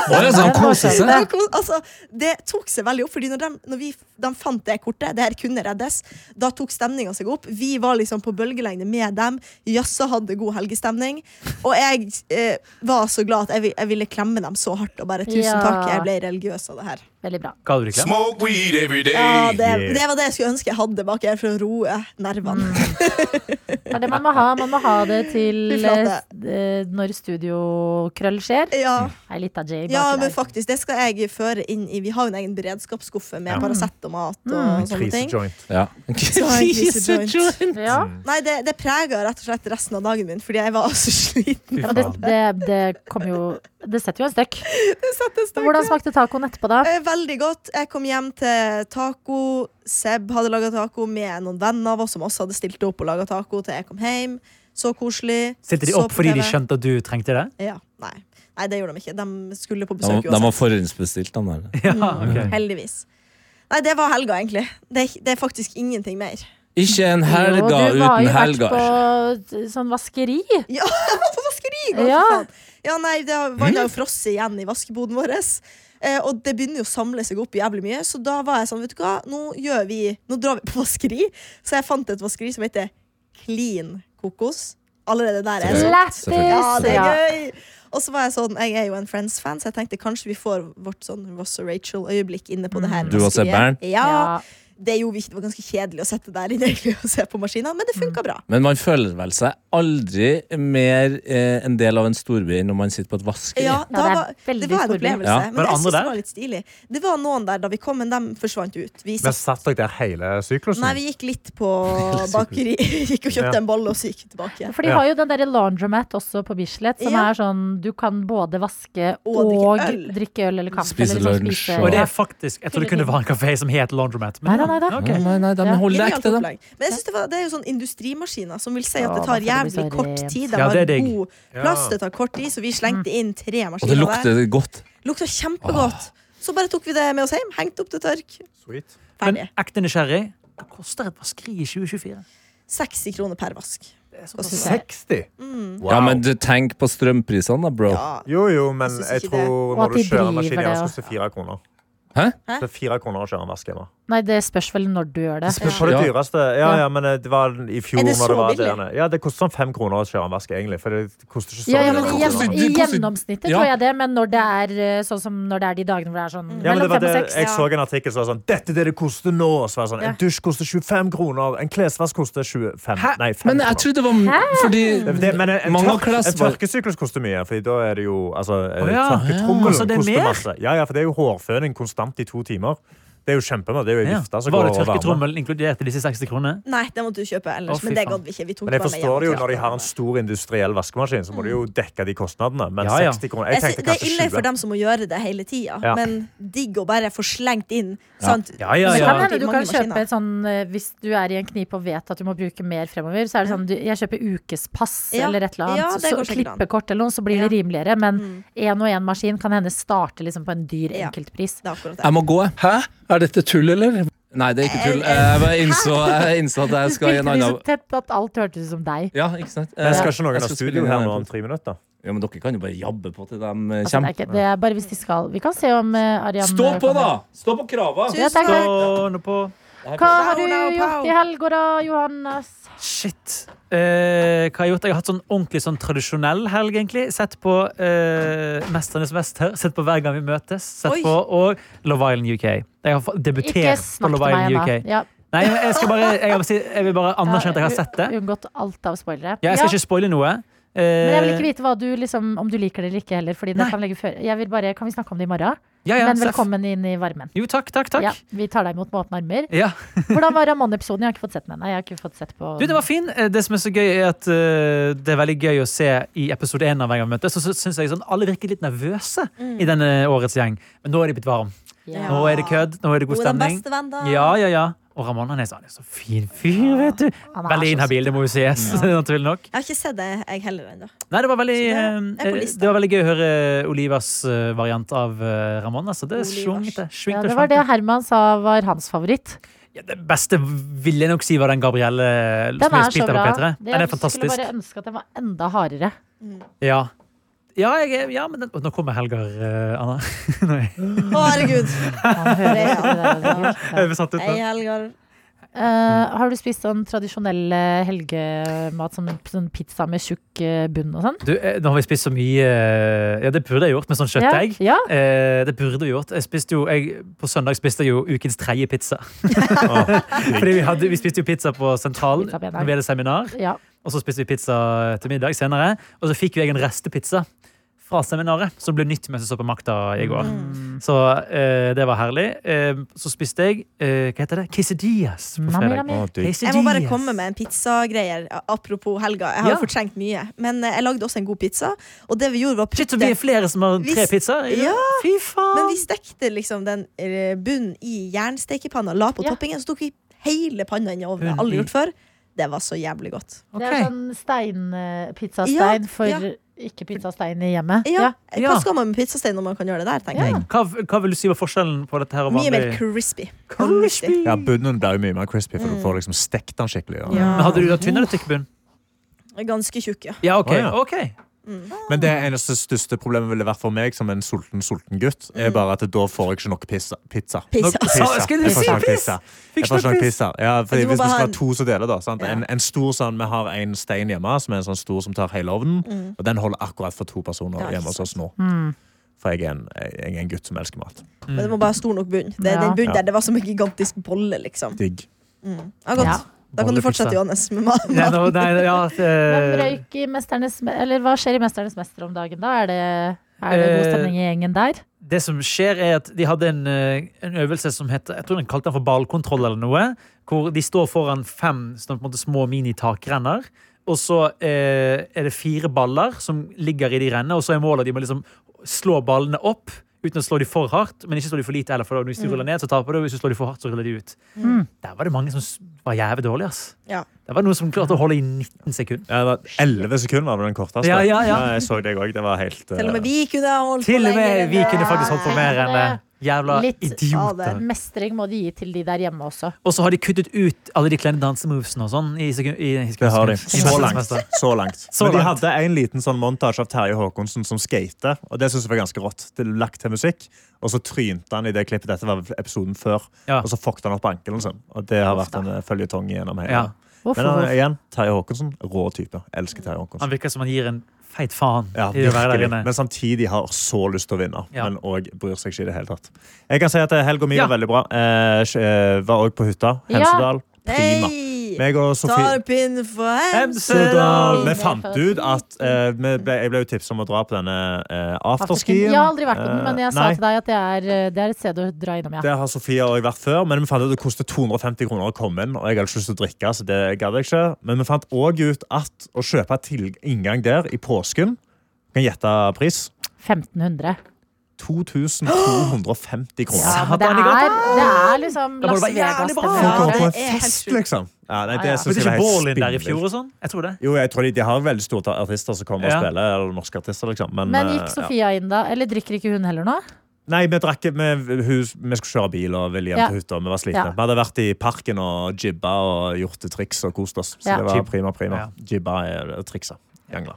[SPEAKER 2] Å, ja, så han koser seg.
[SPEAKER 3] Det kom- Altså, det tok seg veldig opp, Fordi når, de, når vi, de fant det kortet, det her kunne reddes, da tok stemninga seg opp. Vi var liksom på bølgelengde med dem. Jassa hadde god helgestemning. Og jeg eh, var så glad at jeg, vil- jeg ville klemme dem så hardt og bare tusen
[SPEAKER 6] Ja.
[SPEAKER 3] takk, jeg ble religiøs av det her.
[SPEAKER 6] Veldig bra.
[SPEAKER 4] Ga du det ikke?
[SPEAKER 8] Smoke weed every day.
[SPEAKER 3] Ja, det, det var det jeg skulle ønske jeg hadde bak her, for å roe nervene.
[SPEAKER 6] Det er det man må ha. Man må ha
[SPEAKER 3] <laughs>
[SPEAKER 6] det til
[SPEAKER 3] Fy flate.
[SPEAKER 6] eh, når studiokrøll skjer.
[SPEAKER 3] <laughs> Ja,
[SPEAKER 6] Ei lita J baki
[SPEAKER 3] ja, men
[SPEAKER 6] der.
[SPEAKER 3] faktisk, det skal jeg føre inn i Vi har jo en egen beredskapsskuffe med Paracet og mat
[SPEAKER 5] Mm.
[SPEAKER 3] og sånne ting.
[SPEAKER 5] Krisejoint.
[SPEAKER 2] Ja.
[SPEAKER 3] Krisejoint.
[SPEAKER 6] Ja.
[SPEAKER 3] Nei, det, det prega rett og slett resten av dagen min, fordi jeg var <laughs> så sliten.
[SPEAKER 4] Fy
[SPEAKER 6] Ja, men det,
[SPEAKER 4] faen.
[SPEAKER 6] det, det kom jo Det setter jo en
[SPEAKER 3] <laughs>
[SPEAKER 6] støkk.
[SPEAKER 3] Satt en
[SPEAKER 6] Men
[SPEAKER 3] stund.
[SPEAKER 6] Hvordan smakte tacoen etterpå, da?
[SPEAKER 3] Eh, Veldig godt. Jeg kom hjem til taco. Seb hadde laga taco med noen venner av oss som også hadde stilt opp og laga taco til jeg kom hjem. Så koselig.
[SPEAKER 4] Stilte de
[SPEAKER 3] Så
[SPEAKER 4] opp
[SPEAKER 3] på
[SPEAKER 4] fordi de
[SPEAKER 3] TV.
[SPEAKER 4] skjønte at du trengte det?
[SPEAKER 3] Ja, nei. nei, det gjorde de ikke. De skulle på
[SPEAKER 2] De,
[SPEAKER 3] besøk
[SPEAKER 2] de var forhåndsbestilt, de der.
[SPEAKER 4] Ja, ok.
[SPEAKER 3] Heldigvis. Nei, det var helga, egentlig. Det, er- det er faktisk ingenting mer.
[SPEAKER 2] Ikke en
[SPEAKER 6] Jo,
[SPEAKER 2] helga
[SPEAKER 6] du har
[SPEAKER 2] uten
[SPEAKER 6] jo vært
[SPEAKER 2] helgar.
[SPEAKER 6] på eh, sånn vaskeri.
[SPEAKER 3] Ja, <laughs> på vaskeri! går det
[SPEAKER 6] Ja.
[SPEAKER 3] for faen. ja, nei, det har- vannet har jo frosset igjen i vaskeboden vår. Eh, og det begynner jo å samle seg opp jævlig mye, så da var jeg sånn, vet du hva, nå, gjør vi, nå drar vi på vaskeri. Så jeg fant et vaskeri som heter Clean Kokos. Allerede der er jeg sånn.
[SPEAKER 6] Lættis!
[SPEAKER 3] Ja, det
[SPEAKER 6] ja.
[SPEAKER 3] er gøy! Og så var jeg sånn, jeg er jo en Friends-fan, så jeg tenkte kanskje vi får vårt sånn Ross og Rachel-øyeblikk inne på det her.
[SPEAKER 2] Du og
[SPEAKER 3] vaskeriet.
[SPEAKER 2] Sebbern?
[SPEAKER 3] Ja. Det gjorde vi ikke, det var ganske kjedelig å sette der inne egentlig, og se på maskinen, men det funket bra.
[SPEAKER 2] Men man føler vel seg aldri mer eh, en del av en storby enn når man sitter på et vaskeri.
[SPEAKER 3] Ja,
[SPEAKER 6] Ja,
[SPEAKER 3] da
[SPEAKER 6] det er
[SPEAKER 3] var, det
[SPEAKER 6] veldig
[SPEAKER 3] var en
[SPEAKER 6] stor by.
[SPEAKER 2] Ja.
[SPEAKER 3] opplevelse. Men
[SPEAKER 4] Var det
[SPEAKER 3] jeg
[SPEAKER 4] andre
[SPEAKER 3] synes det
[SPEAKER 4] der?
[SPEAKER 3] var litt stilig. Det var noen der da vi kom, men de forsvant ut. Vi
[SPEAKER 5] Men
[SPEAKER 3] satt,
[SPEAKER 5] satt dere der hele syklusen?
[SPEAKER 3] nei, vi gikk litt på bakeri. <laughs> Gikk og kjøpte
[SPEAKER 5] Ja.
[SPEAKER 3] en bolle, og så gikk vi tilbake.
[SPEAKER 6] For de har jo den derre laundromat også på Bislett, som
[SPEAKER 3] Ja.
[SPEAKER 6] er sånn du kan både vaske
[SPEAKER 3] Og
[SPEAKER 6] og,
[SPEAKER 3] drikke
[SPEAKER 6] drikke,
[SPEAKER 3] øl.
[SPEAKER 6] øl. eller kaffe.
[SPEAKER 2] Spise
[SPEAKER 6] eller liksom
[SPEAKER 2] lunsj
[SPEAKER 6] spise-
[SPEAKER 2] og-
[SPEAKER 4] Og det er faktisk Jeg trodde det kunne være en kafé som het Laundromat.
[SPEAKER 6] Nei, nei, nei da.
[SPEAKER 4] ok.
[SPEAKER 2] Nei, nei, nei, de
[SPEAKER 6] Ja.
[SPEAKER 2] holder
[SPEAKER 3] Genialt
[SPEAKER 2] ekte, de.
[SPEAKER 3] opplegg. Men jeg synes det, var, det er jo sånn industrimaskiner som vil si at
[SPEAKER 6] Ja,
[SPEAKER 3] det tar
[SPEAKER 6] da får det bli
[SPEAKER 3] jævlig
[SPEAKER 6] så
[SPEAKER 3] kort
[SPEAKER 6] rent.
[SPEAKER 3] tid. De
[SPEAKER 4] Ja,
[SPEAKER 3] har
[SPEAKER 4] det er digg.
[SPEAKER 3] god
[SPEAKER 5] Ja.
[SPEAKER 3] plass, det tar kort tid, så vi slengte
[SPEAKER 6] Mm.
[SPEAKER 3] inn tre
[SPEAKER 2] Og det
[SPEAKER 3] maskiner
[SPEAKER 2] lukter
[SPEAKER 3] der.
[SPEAKER 2] godt.
[SPEAKER 3] Lukta kjempegodt. Så bare tok vi det med oss hjem, hengte opp til tørk.
[SPEAKER 5] Sweet.
[SPEAKER 4] Men
[SPEAKER 3] Ferdig.
[SPEAKER 4] ekte nysgjerrig. Hva koster et vaskeri i 2024?
[SPEAKER 3] 60 kroner per vask.
[SPEAKER 4] Det er
[SPEAKER 3] Hva
[SPEAKER 4] såpass.
[SPEAKER 3] synes jeg?
[SPEAKER 5] 60? Wow.
[SPEAKER 2] Ja, men du, tenk på strømprisene, da, bro.
[SPEAKER 3] Ja.
[SPEAKER 5] Jo, jo, men
[SPEAKER 3] Jeg synes
[SPEAKER 5] jeg
[SPEAKER 3] ikke det.
[SPEAKER 5] tror
[SPEAKER 6] Og at
[SPEAKER 5] når du
[SPEAKER 6] de
[SPEAKER 5] kjører
[SPEAKER 6] driver
[SPEAKER 5] maskin
[SPEAKER 6] det,
[SPEAKER 5] hjemme,
[SPEAKER 6] ja.
[SPEAKER 5] så koster det fire kroner.
[SPEAKER 2] Hæ?
[SPEAKER 5] Så det er fire kroner å kjøre en vask hjemme.
[SPEAKER 6] Nei, det spørs vel når du gjør det.
[SPEAKER 2] Spørs-
[SPEAKER 5] På det
[SPEAKER 2] Ja.
[SPEAKER 5] dyreste Ja, ja, men eh, det var i fjor
[SPEAKER 3] Er det så
[SPEAKER 5] når det var
[SPEAKER 3] billig?
[SPEAKER 5] det. Ja, det koster sånn fem kroner å kjøre en vask, egentlig. For det koster ikke så
[SPEAKER 6] Ja, ja,
[SPEAKER 5] mye.
[SPEAKER 6] men
[SPEAKER 2] det
[SPEAKER 6] i,
[SPEAKER 2] koster-
[SPEAKER 6] gjenn- I
[SPEAKER 2] det koster-
[SPEAKER 6] gjennomsnittet
[SPEAKER 2] Ja.
[SPEAKER 6] tror jeg det, men når det er eh, sånn som når det er de dagene hvor det er sånn
[SPEAKER 3] Mm.
[SPEAKER 5] Ja, men det
[SPEAKER 6] mellom
[SPEAKER 5] var
[SPEAKER 6] fem
[SPEAKER 5] det,
[SPEAKER 6] og seks.
[SPEAKER 5] jeg
[SPEAKER 3] ja.
[SPEAKER 5] så en artikkel som var sånn Dette er det det koster nå! Så var det sånn,
[SPEAKER 6] Ja.
[SPEAKER 5] En dusj koster 25 kroner, en klesvask koster 25 Nei, 5
[SPEAKER 2] Men jeg
[SPEAKER 5] kroner.
[SPEAKER 2] trodde det var Fordi
[SPEAKER 5] Det, det, men en, en,
[SPEAKER 2] Mange
[SPEAKER 5] tørk,
[SPEAKER 2] av klesvask-
[SPEAKER 5] en tørkesyklus koster mye, Fordi da er det jo altså, eh,
[SPEAKER 4] Å ja.
[SPEAKER 5] Tørketrommelen
[SPEAKER 4] Koster det
[SPEAKER 5] koster
[SPEAKER 4] mer?
[SPEAKER 5] masse. Ja, ja, for det er jo hårføning konstant i to timer. Det er jo kjempemye. Det er jo ei
[SPEAKER 4] Ja.
[SPEAKER 5] vifte
[SPEAKER 4] Var
[SPEAKER 5] som går
[SPEAKER 4] det
[SPEAKER 5] over varme.
[SPEAKER 4] tørketrommelen inkludert i disse 60 kronene?
[SPEAKER 3] Nei, det måtte du kjøpe ellers,
[SPEAKER 4] Å, fy
[SPEAKER 3] men det
[SPEAKER 4] faen.
[SPEAKER 3] gadd vi ikke. Vi tok
[SPEAKER 5] Men jeg
[SPEAKER 3] bare med hjem
[SPEAKER 5] forstår det jo
[SPEAKER 3] til
[SPEAKER 5] når de har en
[SPEAKER 3] Aftenbladet.
[SPEAKER 5] stor industriell vaskemaskin, så må de jo dekke de kostnadene. Men
[SPEAKER 4] Ja, ja.
[SPEAKER 5] 60 kroner
[SPEAKER 3] Jeg
[SPEAKER 5] Jeg
[SPEAKER 3] sy-
[SPEAKER 5] tenkte
[SPEAKER 3] det er
[SPEAKER 5] kanskje
[SPEAKER 3] ille for
[SPEAKER 5] 20.
[SPEAKER 3] dem som må gjøre det hele tida,
[SPEAKER 5] Ja.
[SPEAKER 3] men digg å bare få slengt inn. Sant?
[SPEAKER 4] Ja, ja,
[SPEAKER 6] Men det
[SPEAKER 4] ja.
[SPEAKER 6] kan hende du kan
[SPEAKER 3] Mange maskiner.
[SPEAKER 6] kjøpe et sånn eh, Hvis du er i en knipe og vet at du må bruke mer fremover, så er det sånn du, Jeg kjøper ukespass
[SPEAKER 3] Ja.
[SPEAKER 6] eller et eller annet.
[SPEAKER 3] Ja, det
[SPEAKER 6] så,
[SPEAKER 3] går
[SPEAKER 6] så
[SPEAKER 3] sikkert an. Mm.
[SPEAKER 6] klippekort eller noe, så blir det rimeligere. Men én og én maskin kan hende starte liksom på en dyr
[SPEAKER 3] Ja.
[SPEAKER 6] enkeltpris.
[SPEAKER 3] Det er akkurat det.
[SPEAKER 2] Jeg må gå, jeg.
[SPEAKER 8] Hæ? Er dette tull, eller?
[SPEAKER 2] Nei, det er ikke tull.
[SPEAKER 6] Eh,
[SPEAKER 2] Jeg bare innså, jeg innså at jeg
[SPEAKER 6] Du
[SPEAKER 2] skal i
[SPEAKER 6] spilte
[SPEAKER 2] en
[SPEAKER 6] det så
[SPEAKER 2] annen
[SPEAKER 6] tett at alt hørtes ut som deg.
[SPEAKER 2] Ja, ikke sant?
[SPEAKER 5] Men
[SPEAKER 2] Eh,
[SPEAKER 5] skal ikke
[SPEAKER 2] jeg
[SPEAKER 5] noen ha
[SPEAKER 2] skal
[SPEAKER 5] studio
[SPEAKER 2] spille
[SPEAKER 5] her
[SPEAKER 2] inn
[SPEAKER 5] nå om
[SPEAKER 2] en-
[SPEAKER 5] tre minutter?
[SPEAKER 2] Ja, men dere kan jo bare jabbe på til de eh,
[SPEAKER 6] Altså, det,
[SPEAKER 2] kommer.
[SPEAKER 6] er ikke, det er bare hvis de skal. Vi kan se om eh, Arian
[SPEAKER 2] Stå på,
[SPEAKER 6] kommer.
[SPEAKER 2] da! Stå på krava!
[SPEAKER 6] Ja, takk, takk.
[SPEAKER 4] Så nå på
[SPEAKER 6] Hva har du
[SPEAKER 3] Pow, pow, pow.
[SPEAKER 6] gjort i helga da, Johannes?
[SPEAKER 4] Shit. Eh, hva har jeg gjort? Jeg har hatt sånn ordentlig sånn tradisjonell helg, egentlig. Sett på eh, Mesternes mester. Sett på Hver gang vi møtes. Sett
[SPEAKER 3] Oi.
[SPEAKER 4] på og Love Island UK. Jeg har fa-
[SPEAKER 6] Ikke
[SPEAKER 4] debutert på
[SPEAKER 6] snakk til
[SPEAKER 4] Love
[SPEAKER 6] meg
[SPEAKER 4] Island
[SPEAKER 6] ennå.
[SPEAKER 4] UK.
[SPEAKER 6] Ja.
[SPEAKER 4] Nei, men jeg, skal bare, jeg, vil si, jeg vil bare anerkjenne at jeg har sett det.
[SPEAKER 6] Unngått alt av spoilere.
[SPEAKER 4] Ja, jeg skal ikke spoile noe. Eh,
[SPEAKER 6] Men jeg vil ikke vite hva du, liksom, om du liker det eller ikke heller. Fordi det
[SPEAKER 4] Nei.
[SPEAKER 6] kan, legge før. Jeg vil bare, kan vi snakke om det i morgen?
[SPEAKER 4] ja, ja,
[SPEAKER 6] Men
[SPEAKER 4] Seff.
[SPEAKER 6] velkommen inn i varmen.
[SPEAKER 4] Jo, takk, takk, takk.
[SPEAKER 6] Ja, vi tar deg imot med åpne armer.
[SPEAKER 4] Ja.
[SPEAKER 6] Hvordan var Ramón-episoden? Jeg har ikke fått sett den ennå. Jeg har ikke fått sett på
[SPEAKER 4] Du, det var fin. Eh, Det som er så gøy, er at eh, det er veldig gøy å se i episode én av Hver gang vi møtes. Så, så syns jeg sånn, alle virker litt nervøse
[SPEAKER 6] Mm.
[SPEAKER 4] i denne årets gjeng. Men nå er de blitt varme.
[SPEAKER 6] ja.
[SPEAKER 3] Ja.
[SPEAKER 4] Nå er det kødd. Nå er det god
[SPEAKER 3] Hun er den
[SPEAKER 4] stemning.
[SPEAKER 3] beste venn, da.
[SPEAKER 4] Ja, ja, ja. Og Ramón han er sånn, han er så fin fyr, vet du.
[SPEAKER 6] Han er
[SPEAKER 4] Veldig
[SPEAKER 6] så
[SPEAKER 4] inhabil, det må jo sies. <laughs> Naturlig nok.
[SPEAKER 3] Jeg har ikke sett det, jeg heller ennå.
[SPEAKER 4] Nei, det var veldig,
[SPEAKER 3] Så det er på
[SPEAKER 4] eh,
[SPEAKER 3] lista.
[SPEAKER 4] det var veldig gøy å høre Olivas eh, variant av eh, Ramón. Altså, det
[SPEAKER 3] Olivas.
[SPEAKER 4] svingte. svingte,
[SPEAKER 6] Ja, det var
[SPEAKER 4] svingte.
[SPEAKER 6] det Herman sa var hans favoritt.
[SPEAKER 4] Ja, det beste vil jeg nok si var den Gabrielle
[SPEAKER 6] Den
[SPEAKER 4] som
[SPEAKER 6] er
[SPEAKER 4] er
[SPEAKER 6] så
[SPEAKER 4] spilt av
[SPEAKER 6] bra.
[SPEAKER 4] P3.
[SPEAKER 6] Det-
[SPEAKER 4] Den er
[SPEAKER 6] Jeg
[SPEAKER 4] fantastisk.
[SPEAKER 6] skulle bare ønske at den var enda
[SPEAKER 4] <laughs>
[SPEAKER 6] hardere.
[SPEAKER 3] Mm.
[SPEAKER 4] Ja. Ja, jeg, er- ja, men den, nå kommer Helgar, eh, Anna. <laughs>
[SPEAKER 3] Å, herregud.
[SPEAKER 6] Han hører ikke det der, altså.
[SPEAKER 4] Jeg ble satt ut
[SPEAKER 3] Hei,
[SPEAKER 4] nå.
[SPEAKER 3] Helgar.
[SPEAKER 6] Eh, har du spist sånn tradisjonell eh, helgemat, som sånn pizza med tjukk eh, bunn og sånn?
[SPEAKER 4] Du, eh, nå har vi spist så mye eh, Ja, det burde jeg gjort med sånn kjøttdeig.
[SPEAKER 6] Ja, ja.
[SPEAKER 4] Eh, det burde vi gjort. Jeg spiste jo, jeg, på søndag spiste jeg jo ukens tredje
[SPEAKER 5] <laughs>
[SPEAKER 4] pizza. <laughs> Fordi vi, hadde, vi spiste jo pizza på Sentral
[SPEAKER 6] Pizza på en dag.
[SPEAKER 4] når vi hadde seminar.
[SPEAKER 6] ja.
[SPEAKER 4] Og så spiste vi pizza til middag senere. Og så fikk jo jeg en restepizza fra seminaret, som ble nytt mens jeg så på Makta i går.
[SPEAKER 3] Mm.
[SPEAKER 6] Mm.
[SPEAKER 4] Så eh, det var herlig. Eh, så spiste jeg eh, hva heter det? quesadillas på
[SPEAKER 6] Mamma
[SPEAKER 4] fredag.
[SPEAKER 6] mia.
[SPEAKER 5] Å, digg.
[SPEAKER 4] Quesadillas.
[SPEAKER 3] Jeg må bare komme med en pizzagreier. Apropos helga. Jeg har
[SPEAKER 4] Ja.
[SPEAKER 3] jo fortrengt mye. Men eh, jeg lagde også en god pizza. Og det vi gjorde, var å
[SPEAKER 4] Shit, så vi
[SPEAKER 3] putte
[SPEAKER 4] er flere som har
[SPEAKER 3] Hvis-
[SPEAKER 4] tre pizzaer? i dag?
[SPEAKER 3] Ja.
[SPEAKER 4] Fy faen!
[SPEAKER 3] Men vi stekte liksom den eh, bunnen i jernstekepanna, la på
[SPEAKER 6] Ja.
[SPEAKER 3] toppingen, så tok vi hele panna inn i ovnen. Det har
[SPEAKER 4] Bunn i-
[SPEAKER 3] Aldri gjort før. Det var så jævlig godt.
[SPEAKER 6] Det
[SPEAKER 4] Ok.
[SPEAKER 6] er sånn stein, eh, pizzastein
[SPEAKER 3] Ja,
[SPEAKER 6] for
[SPEAKER 3] ja.
[SPEAKER 6] ikke pizzastein i hjemmet.
[SPEAKER 3] Ja. Hva
[SPEAKER 4] Ja.
[SPEAKER 3] skal man med pizzastein når man kan gjøre det der, tenker jeg.
[SPEAKER 4] hva, hva vil du si var forskjellen på dette her og
[SPEAKER 3] Mye
[SPEAKER 4] vanlig?
[SPEAKER 3] mer crispy.
[SPEAKER 5] Ja, bunnen blir jo mye mer crispy, for
[SPEAKER 3] Mm.
[SPEAKER 5] du får liksom stekt den skikkelig. Ja.
[SPEAKER 4] Men hadde du da tynn eller tykk bunn?
[SPEAKER 3] Ganske tjukk, ja.
[SPEAKER 4] Ja, ok.
[SPEAKER 5] Å, ja.
[SPEAKER 4] ok.
[SPEAKER 5] Men det eneste største problemet ville vært for meg som en sulten, sulten gutt, er bare at da får jeg ikke nok pizza. pizza.
[SPEAKER 3] Mm. Pizza.
[SPEAKER 4] Sa- skulle du
[SPEAKER 5] Jeg får
[SPEAKER 4] si
[SPEAKER 5] ikke nok
[SPEAKER 4] piss?
[SPEAKER 5] pizza.
[SPEAKER 4] Fikk
[SPEAKER 5] Jeg får ikke nok pizza. Ja, fordi
[SPEAKER 3] Du må
[SPEAKER 5] hvis vi
[SPEAKER 3] bare
[SPEAKER 5] skal
[SPEAKER 3] ha
[SPEAKER 5] ha
[SPEAKER 3] en-
[SPEAKER 5] to som deler, da. Sant?
[SPEAKER 3] Ja.
[SPEAKER 5] En, en stor sånn, Vi har en stein hjemme som er en sånn stor som tar hele ovnen. Og den holder akkurat for to personer
[SPEAKER 3] Mm. Ja, ikke
[SPEAKER 5] hjemme hos oss nå.
[SPEAKER 4] Mm.
[SPEAKER 5] For jeg er, en, jeg er en gutt som elsker mat.
[SPEAKER 3] Men det må bare ha stor nok bunn. Det,
[SPEAKER 6] Ja.
[SPEAKER 3] den bunnen
[SPEAKER 5] Ja.
[SPEAKER 3] der, det var som en gigantisk bolle, liksom.
[SPEAKER 5] Digg.
[SPEAKER 3] Ja, godt.
[SPEAKER 6] Ja.
[SPEAKER 3] Da kan du fortsette,
[SPEAKER 4] Bollepizza.
[SPEAKER 3] Johannes, med ma-
[SPEAKER 4] <laughs> Nei,
[SPEAKER 3] mat.
[SPEAKER 4] nå, nei, ja,
[SPEAKER 6] Hvem
[SPEAKER 4] eh,
[SPEAKER 6] røyk i Mesternes Me- Eller hva skjer i Mesternes mester om dagen, da? Er det, er det god
[SPEAKER 4] Eh,
[SPEAKER 6] stemning i gjengen der?
[SPEAKER 4] det som skjer er at De hadde en, eh, en øvelse som het Jeg tror den kalte den for ballkontroll eller noe. Hvor de står foran fem sånn, på en måte, små minitakrenner. Og så eh, er det fire baller som ligger i de rennene, og så er målet at de må liksom slå ballene opp. Uten å slå de for hardt, men ikke slå de for lite. Eller for da- hvis du
[SPEAKER 6] Mm.
[SPEAKER 4] ruller ned, så taper du. og Hvis du slår de for hardt, så ruller de ut. Der var det mange som s- var jævlig dårlige. ass.
[SPEAKER 3] Ja.
[SPEAKER 4] Det var noen som klarte å holde i 19 sekunder.
[SPEAKER 5] Ja, det var 11 sekunder var den korteste.
[SPEAKER 4] Ja, ja, ja.
[SPEAKER 5] jeg så deg òg. Det var helt
[SPEAKER 3] <laughs> Til og med
[SPEAKER 5] eh,
[SPEAKER 3] vi kunne ha holdt på
[SPEAKER 4] Til og med
[SPEAKER 3] lenger enn
[SPEAKER 4] vi
[SPEAKER 3] det.
[SPEAKER 4] kunne faktisk holdt på mer enn det. Jævla
[SPEAKER 6] Litt
[SPEAKER 4] idioter.
[SPEAKER 3] av
[SPEAKER 6] Mestring må de gi til de der hjemme også.
[SPEAKER 4] Og så har de kuttet ut alle de kleine dansemovesene og sånn. I, sekund- i, i,
[SPEAKER 5] Det har de.
[SPEAKER 4] i
[SPEAKER 5] Så
[SPEAKER 4] neste
[SPEAKER 5] langt.
[SPEAKER 4] semester.
[SPEAKER 5] Så langt.
[SPEAKER 4] <laughs> Så
[SPEAKER 5] Men de
[SPEAKER 4] langt.
[SPEAKER 5] hadde en liten sånn montasje av Terje Håkonsen som skater, og det synes jeg var ganske rått. Det er lagt til musikk, og så trynte han i det klippet. Dette var episoden før,
[SPEAKER 4] Ja.
[SPEAKER 5] og så fuckte han opp ankelen sin. Og det har vært
[SPEAKER 6] Uff da.
[SPEAKER 5] en eh, føljetong gjennom hele.
[SPEAKER 4] Ja.
[SPEAKER 6] Voff,
[SPEAKER 5] Men han,
[SPEAKER 6] voff, voff.
[SPEAKER 5] igjen, Terje Håkonsen, rå type. Elsker Terje Håkonsen.
[SPEAKER 4] Han virker som han gir en feit faen
[SPEAKER 5] Ja,
[SPEAKER 4] i å være der
[SPEAKER 5] virkelig.
[SPEAKER 4] inne.
[SPEAKER 5] Men samtidig har så lyst til å vinne,
[SPEAKER 4] Ja.
[SPEAKER 5] men òg bryr seg ikke i det hele tatt. Jeg kan si at eh, helga mi
[SPEAKER 4] Ja.
[SPEAKER 5] var veldig bra. Eh, sj- eh, var òg på hytta.
[SPEAKER 6] Ja.
[SPEAKER 5] Hemsedal. Prima.
[SPEAKER 3] Hei!
[SPEAKER 5] Meg og Sofie
[SPEAKER 3] Tar pinnen for
[SPEAKER 5] Hemsedal.
[SPEAKER 3] Hemsedal.
[SPEAKER 5] Vi fant ut at eh, vi ble, Jeg ble jo tipset om å dra på denne eh,
[SPEAKER 6] Afterski.
[SPEAKER 5] afterskien.
[SPEAKER 6] Jeg har aldri vært på den,
[SPEAKER 5] Eh,
[SPEAKER 6] men jeg sa
[SPEAKER 5] nei,
[SPEAKER 6] til deg at det er, eh, det er et sted å dra innom, ja.
[SPEAKER 5] Det har Sofie og jeg vært før, men vi fant ut at det kostet 250 kroner å komme inn. Og jeg hadde ikke lyst til å drikke, så det gadd jeg ikke. Men vi fant òg ut at å kjøpe til inngang der i påsken Kan gjette pris.
[SPEAKER 6] 1500.
[SPEAKER 5] 2250 kroner.
[SPEAKER 6] Ja,
[SPEAKER 4] Satan,
[SPEAKER 6] men det
[SPEAKER 4] i gata!
[SPEAKER 6] er, det er liksom
[SPEAKER 4] Da må det
[SPEAKER 6] Las
[SPEAKER 4] være
[SPEAKER 6] Vegas.
[SPEAKER 4] jævlig bra.
[SPEAKER 6] det
[SPEAKER 5] Folk
[SPEAKER 6] der.
[SPEAKER 5] går på en
[SPEAKER 3] det er helt
[SPEAKER 5] fest,
[SPEAKER 3] sjukt.
[SPEAKER 5] liksom. Ja, nei,
[SPEAKER 6] Ja, ja.
[SPEAKER 5] det
[SPEAKER 4] Men
[SPEAKER 5] synes
[SPEAKER 4] det
[SPEAKER 5] jeg
[SPEAKER 4] er
[SPEAKER 5] var
[SPEAKER 4] ikke Ballin
[SPEAKER 5] helt
[SPEAKER 4] der i fjor
[SPEAKER 5] spinnvilt.
[SPEAKER 4] og sånn? Jeg tror det.
[SPEAKER 5] Jo, jeg tror de, de har veldig store artister som kommer
[SPEAKER 4] Ja.
[SPEAKER 5] og spiller. Eller norske artister, liksom. Men,
[SPEAKER 6] Men
[SPEAKER 5] eh,
[SPEAKER 6] gikk
[SPEAKER 5] ja.
[SPEAKER 6] Sofia inn da? Eller drikker ikke hun heller nå?
[SPEAKER 5] Nei, vi drakk vi, hus, vi skulle kjøre bil og ville hjem
[SPEAKER 6] Ja.
[SPEAKER 5] til hytta. og Vi var slitne.
[SPEAKER 6] Ja.
[SPEAKER 5] Vi hadde vært i parken og jibba og gjort triks og kost oss. Så
[SPEAKER 6] Ja.
[SPEAKER 5] det var
[SPEAKER 4] Jib-
[SPEAKER 5] prima, prima.
[SPEAKER 4] Ja.
[SPEAKER 5] Jibba er triksa. Jangla.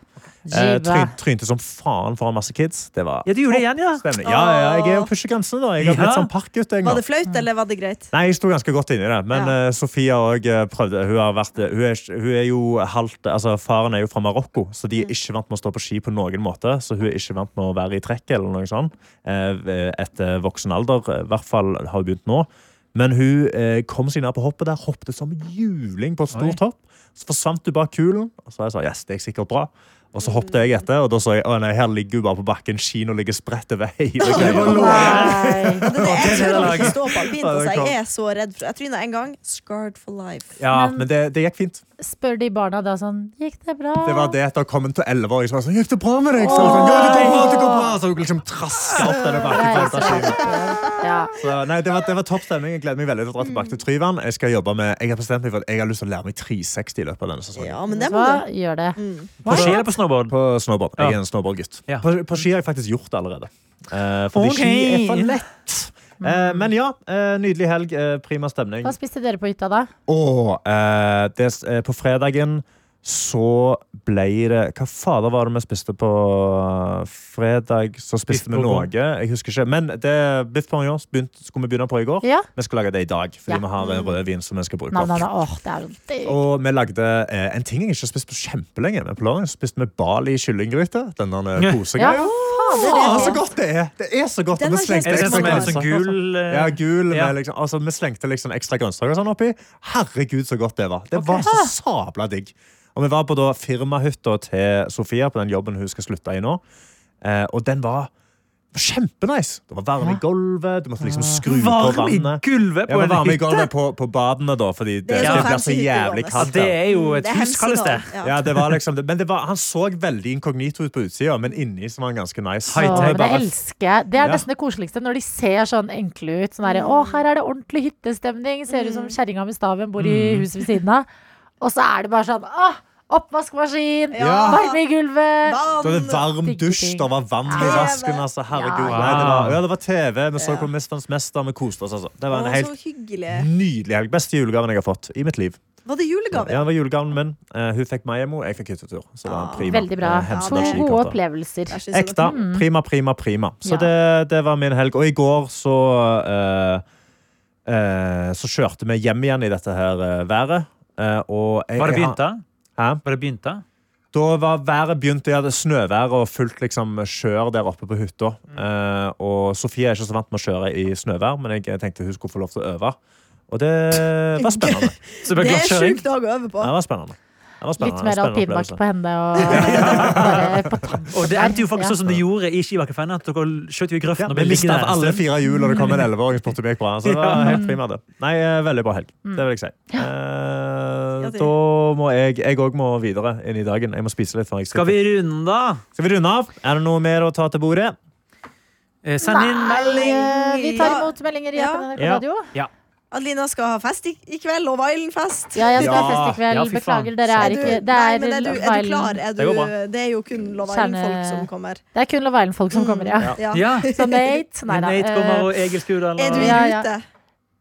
[SPEAKER 5] Eh,
[SPEAKER 6] Jiva.
[SPEAKER 5] tryn, trynte som faen foran masse kids. Det var
[SPEAKER 4] Ja, du gjorde det igjen, ja.
[SPEAKER 5] stemning. Ja, ja, jeg er jo pusher grensene, da. Jeg har blitt
[SPEAKER 4] Ja.
[SPEAKER 5] sånn parkgutt. jeg nå.
[SPEAKER 3] Var det flaut, eller var det greit?
[SPEAKER 5] Nei, jeg sto ganske godt inni det, men
[SPEAKER 6] Ja.
[SPEAKER 5] eh, Sofia òg prøvde. Hun, har vært, eh, hun, er, hun er jo halvt Altså, faren er jo fra Marokko, så de er ikke vant med å stå på ski på noen måte. Så hun er ikke vant med å være i trekk eller noe sånt. eh, ved- etter voksen alder, eh, i hvert fall har hun begynt nå. Men hun eh, kom seg ned på hoppet der, hoppet som juling på et stort hopp. Så forsvant hun bak kulen, og så jeg sa yes, det er sikkert bra. Og så hoppet jeg etter, og da så jeg å nei, her ligger hun bare på bakken. Kino ligger spredt over hele greia.
[SPEAKER 4] <laughs>
[SPEAKER 6] Nei.
[SPEAKER 3] Det, jeg tør ikke stå på alpint.
[SPEAKER 5] Ja, det er
[SPEAKER 3] Altså.
[SPEAKER 5] klart.
[SPEAKER 3] Jeg er så redd. For, jeg tryna en gang. Scarred for life.
[SPEAKER 5] Ja,
[SPEAKER 6] Men-
[SPEAKER 5] men det, det gikk fint.
[SPEAKER 6] Spør de barna da sånn Gikk det bra?
[SPEAKER 5] Det var det at det kom en til 11 år som var sånn Gikk det bra med deg? Så jeg sånn, ja, det går bra, det går bra. Så hun liksom traska opp denne bakken.
[SPEAKER 6] Reiser
[SPEAKER 5] til
[SPEAKER 6] seg
[SPEAKER 5] Antarktis.
[SPEAKER 6] opp igjen. Ja.
[SPEAKER 5] Så, nei, det var, det var topp stemning. Jeg gleder meg veldig til å dra tilbake til Tryvann. Jeg skal jobbe med, jeg har bestemt meg for at jeg har lyst til å lære meg 360 i løpet av denne sesongen.
[SPEAKER 3] Ja, men det Mm. må
[SPEAKER 6] Hva
[SPEAKER 3] du.
[SPEAKER 6] gjør det?
[SPEAKER 4] På ski eller på snowboard?
[SPEAKER 5] På snowboard. Jeg
[SPEAKER 4] Ja.
[SPEAKER 5] er en snowboardgutt.
[SPEAKER 4] Ja.
[SPEAKER 5] På, på ski har jeg faktisk gjort det allerede. Eh, fordi
[SPEAKER 4] Ok.
[SPEAKER 5] ski er for lett. Eh, men ja, eh, nydelig helg. eh, prima stemning.
[SPEAKER 6] Hva spiste dere på hytta da?
[SPEAKER 5] Og eh, det, eh, på fredagen så ble det Hva fader var det vi spiste på eh, fredag? Så
[SPEAKER 4] Biff
[SPEAKER 5] spiste vi noe.
[SPEAKER 4] bourguignon.
[SPEAKER 5] Jeg husker ikke. Men det biff bourguignon begynte- skulle vi begynne på i går.
[SPEAKER 6] Ja?
[SPEAKER 5] Vi skal lage det i dag, fordi
[SPEAKER 6] Ja.
[SPEAKER 5] vi har en rødvin som vi skal bruke.
[SPEAKER 6] Nei, nei, nei. Åh, det er jo digg.
[SPEAKER 5] Og vi lagde eh, en ting jeg ikke har spist på kjempelenge. Men på lørdag spiste vi Bali kyllinggryte. Den der
[SPEAKER 6] Ja,
[SPEAKER 5] kosegreia.
[SPEAKER 6] fader, det
[SPEAKER 5] Faen,
[SPEAKER 6] er
[SPEAKER 5] så
[SPEAKER 6] det.
[SPEAKER 5] godt det er! Det er så godt.
[SPEAKER 3] Den
[SPEAKER 5] og vi
[SPEAKER 3] har ikke
[SPEAKER 5] slengte
[SPEAKER 4] Er det
[SPEAKER 3] jeg
[SPEAKER 4] den som
[SPEAKER 5] ekstra
[SPEAKER 4] er
[SPEAKER 5] grønnsaker.
[SPEAKER 4] sånn gul eh,
[SPEAKER 5] altså. Ja, gul med
[SPEAKER 4] ja.
[SPEAKER 5] liksom Altså, vi slengte liksom ekstra grønnsaker og sånn oppi. Herregud, så godt det var. Det var så sabla digg. Og vi var på da firmahytta til Sofia på den jobben hun skal slutte i nå. Eh, og den var kjempenice. Det var varme i gulvet, du måtte liksom skru på
[SPEAKER 4] Varm i
[SPEAKER 5] vannet.
[SPEAKER 4] gulvet
[SPEAKER 5] Jeg
[SPEAKER 4] på
[SPEAKER 5] var
[SPEAKER 4] en
[SPEAKER 5] varme i
[SPEAKER 4] hytte?
[SPEAKER 5] gulvet på, på badene, da, fordi det,
[SPEAKER 3] er
[SPEAKER 5] det,
[SPEAKER 3] jo
[SPEAKER 5] blir så
[SPEAKER 3] fancy hytte, Johannes.
[SPEAKER 5] jævlig
[SPEAKER 4] Ja, det
[SPEAKER 5] kaldt. der.
[SPEAKER 4] er jo
[SPEAKER 3] Mm,
[SPEAKER 4] et
[SPEAKER 3] Det er
[SPEAKER 4] hus, kalles det.
[SPEAKER 3] Hemsedal. Ja.
[SPEAKER 5] Ja, det var liksom det. Men det var, han så veldig inkognito ut på utsida, men inni så var han ganske nice.
[SPEAKER 6] Åh,
[SPEAKER 4] High-tech.
[SPEAKER 6] men det
[SPEAKER 5] Bare-
[SPEAKER 6] elsker jeg. Det er
[SPEAKER 5] Ja.
[SPEAKER 6] nesten det koseligste, når de ser sånn enkle ut. Sånn derre Å, her er det ordentlig hyttestemning. Ser ut som
[SPEAKER 3] Mm.
[SPEAKER 6] kjerringa med staven bor i huset ved siden av. Og så er det bare sånn Å, oppvaskmaskin!
[SPEAKER 3] Ja.
[SPEAKER 6] Varme i gulvet!
[SPEAKER 5] Da var det
[SPEAKER 3] Vann.
[SPEAKER 5] varm dusj, det var vann i
[SPEAKER 6] Ja.
[SPEAKER 5] vasken. Altså, herregud.
[SPEAKER 6] Ja.
[SPEAKER 5] Nei, det, var, ja, det var TV, vi så
[SPEAKER 3] Ja.
[SPEAKER 5] på 'Mesterens mester', vi koste oss. Altså. Det
[SPEAKER 3] Å,
[SPEAKER 5] var en
[SPEAKER 3] så
[SPEAKER 5] helt
[SPEAKER 3] hyggelig.
[SPEAKER 5] nydelig helg. Beste julegaven jeg har fått i mitt liv.
[SPEAKER 3] Var det
[SPEAKER 5] Ja,
[SPEAKER 3] julegave?
[SPEAKER 5] det var julegaven min. Eh, hun fikk Maiemo, jeg fikk hyttetur. Så det var prima.
[SPEAKER 6] Ah, Veldig bra.
[SPEAKER 5] Eh, Hemsedal
[SPEAKER 6] To
[SPEAKER 5] skikart,
[SPEAKER 6] gode
[SPEAKER 5] da.
[SPEAKER 6] opplevelser.
[SPEAKER 3] Jeg synes det
[SPEAKER 5] Ekte.
[SPEAKER 3] var-
[SPEAKER 5] Prima, prima, prima. Så
[SPEAKER 6] Mm. Ja.
[SPEAKER 5] det, det var min helg. Og i går så eh, eh, Så kjørte vi hjem igjen i dette her eh, været. Eh, og jeg,
[SPEAKER 4] Var det
[SPEAKER 5] jeg har-
[SPEAKER 4] begynt da?
[SPEAKER 5] Hæ?
[SPEAKER 4] Var det begynt da?
[SPEAKER 5] Da var været begynt, jeg hadde snøvær og fullt liksom kjør der oppe på hytta.
[SPEAKER 6] Mm.
[SPEAKER 5] Eh, og Sofie er ikke så vant med å kjøre i snøvær, men jeg tenkte hun skulle få lov til å øve. Og
[SPEAKER 6] <laughs>
[SPEAKER 5] det var spennende.
[SPEAKER 4] Så det ble
[SPEAKER 3] Det er
[SPEAKER 4] glattkjøring?
[SPEAKER 3] sjuk dag å øve på.
[SPEAKER 5] Ja, Det var spennende. Det var spennende. Det var
[SPEAKER 6] Litt mer
[SPEAKER 5] spennende
[SPEAKER 6] alpinbakk
[SPEAKER 5] opplevelse.
[SPEAKER 6] på henne
[SPEAKER 3] <laughs>
[SPEAKER 6] og bare på tampen
[SPEAKER 4] Og det
[SPEAKER 6] der.
[SPEAKER 4] endte jo faktisk
[SPEAKER 6] Ja.
[SPEAKER 4] sånn som det gjorde i Skibakkefeiren. At dere skjøt jo i grøften
[SPEAKER 5] Ja,
[SPEAKER 4] og
[SPEAKER 5] vi
[SPEAKER 4] ble
[SPEAKER 5] mista
[SPEAKER 4] liggende der.
[SPEAKER 5] alle
[SPEAKER 4] en stund.
[SPEAKER 5] fire hjul, og det kom en elleveåring og spurte om det gikk bra. Så det var helt prima, det. Nei, eh, veldig bra helg.
[SPEAKER 6] Mm.
[SPEAKER 5] Det vil jeg si. Eh, da må jeg Jeg òg må videre inn i dagen. Jeg må spise litt før jeg
[SPEAKER 4] Skal vi runde, da?
[SPEAKER 5] Skal vi runde av? Er det noe mer å ta til bordet?
[SPEAKER 4] Eh, Send inn
[SPEAKER 6] Nei, eh, vi tar imot meldinger i
[SPEAKER 3] Ja.
[SPEAKER 6] appen NRK
[SPEAKER 4] Ja.
[SPEAKER 6] Radio.
[SPEAKER 3] Adelina skal ha fest i, i kveld, og Vailen-fest.
[SPEAKER 6] Ja, jeg skal ha
[SPEAKER 5] Ja.
[SPEAKER 6] fest i kveld.
[SPEAKER 4] Ja, fy faen.
[SPEAKER 6] Beklager, dere
[SPEAKER 3] Er
[SPEAKER 6] er
[SPEAKER 3] du-
[SPEAKER 6] ikke Det
[SPEAKER 3] nei,
[SPEAKER 6] er,
[SPEAKER 3] men er, du, er du klar?
[SPEAKER 6] Love
[SPEAKER 3] Er
[SPEAKER 4] Det går bra.
[SPEAKER 3] du, det er jo kun Love
[SPEAKER 6] Kjerne-
[SPEAKER 3] Island-folk som kommer.
[SPEAKER 6] Det er kun Love Island-folk som kommer, ja.
[SPEAKER 3] Ja. <laughs>
[SPEAKER 4] Ja.
[SPEAKER 5] <laughs>
[SPEAKER 6] Så Nate Nei da.
[SPEAKER 4] Nate
[SPEAKER 6] eh,
[SPEAKER 4] kommer og Egil Skudal.
[SPEAKER 3] Er du i
[SPEAKER 4] Og...
[SPEAKER 6] Ja, ja.
[SPEAKER 3] rute?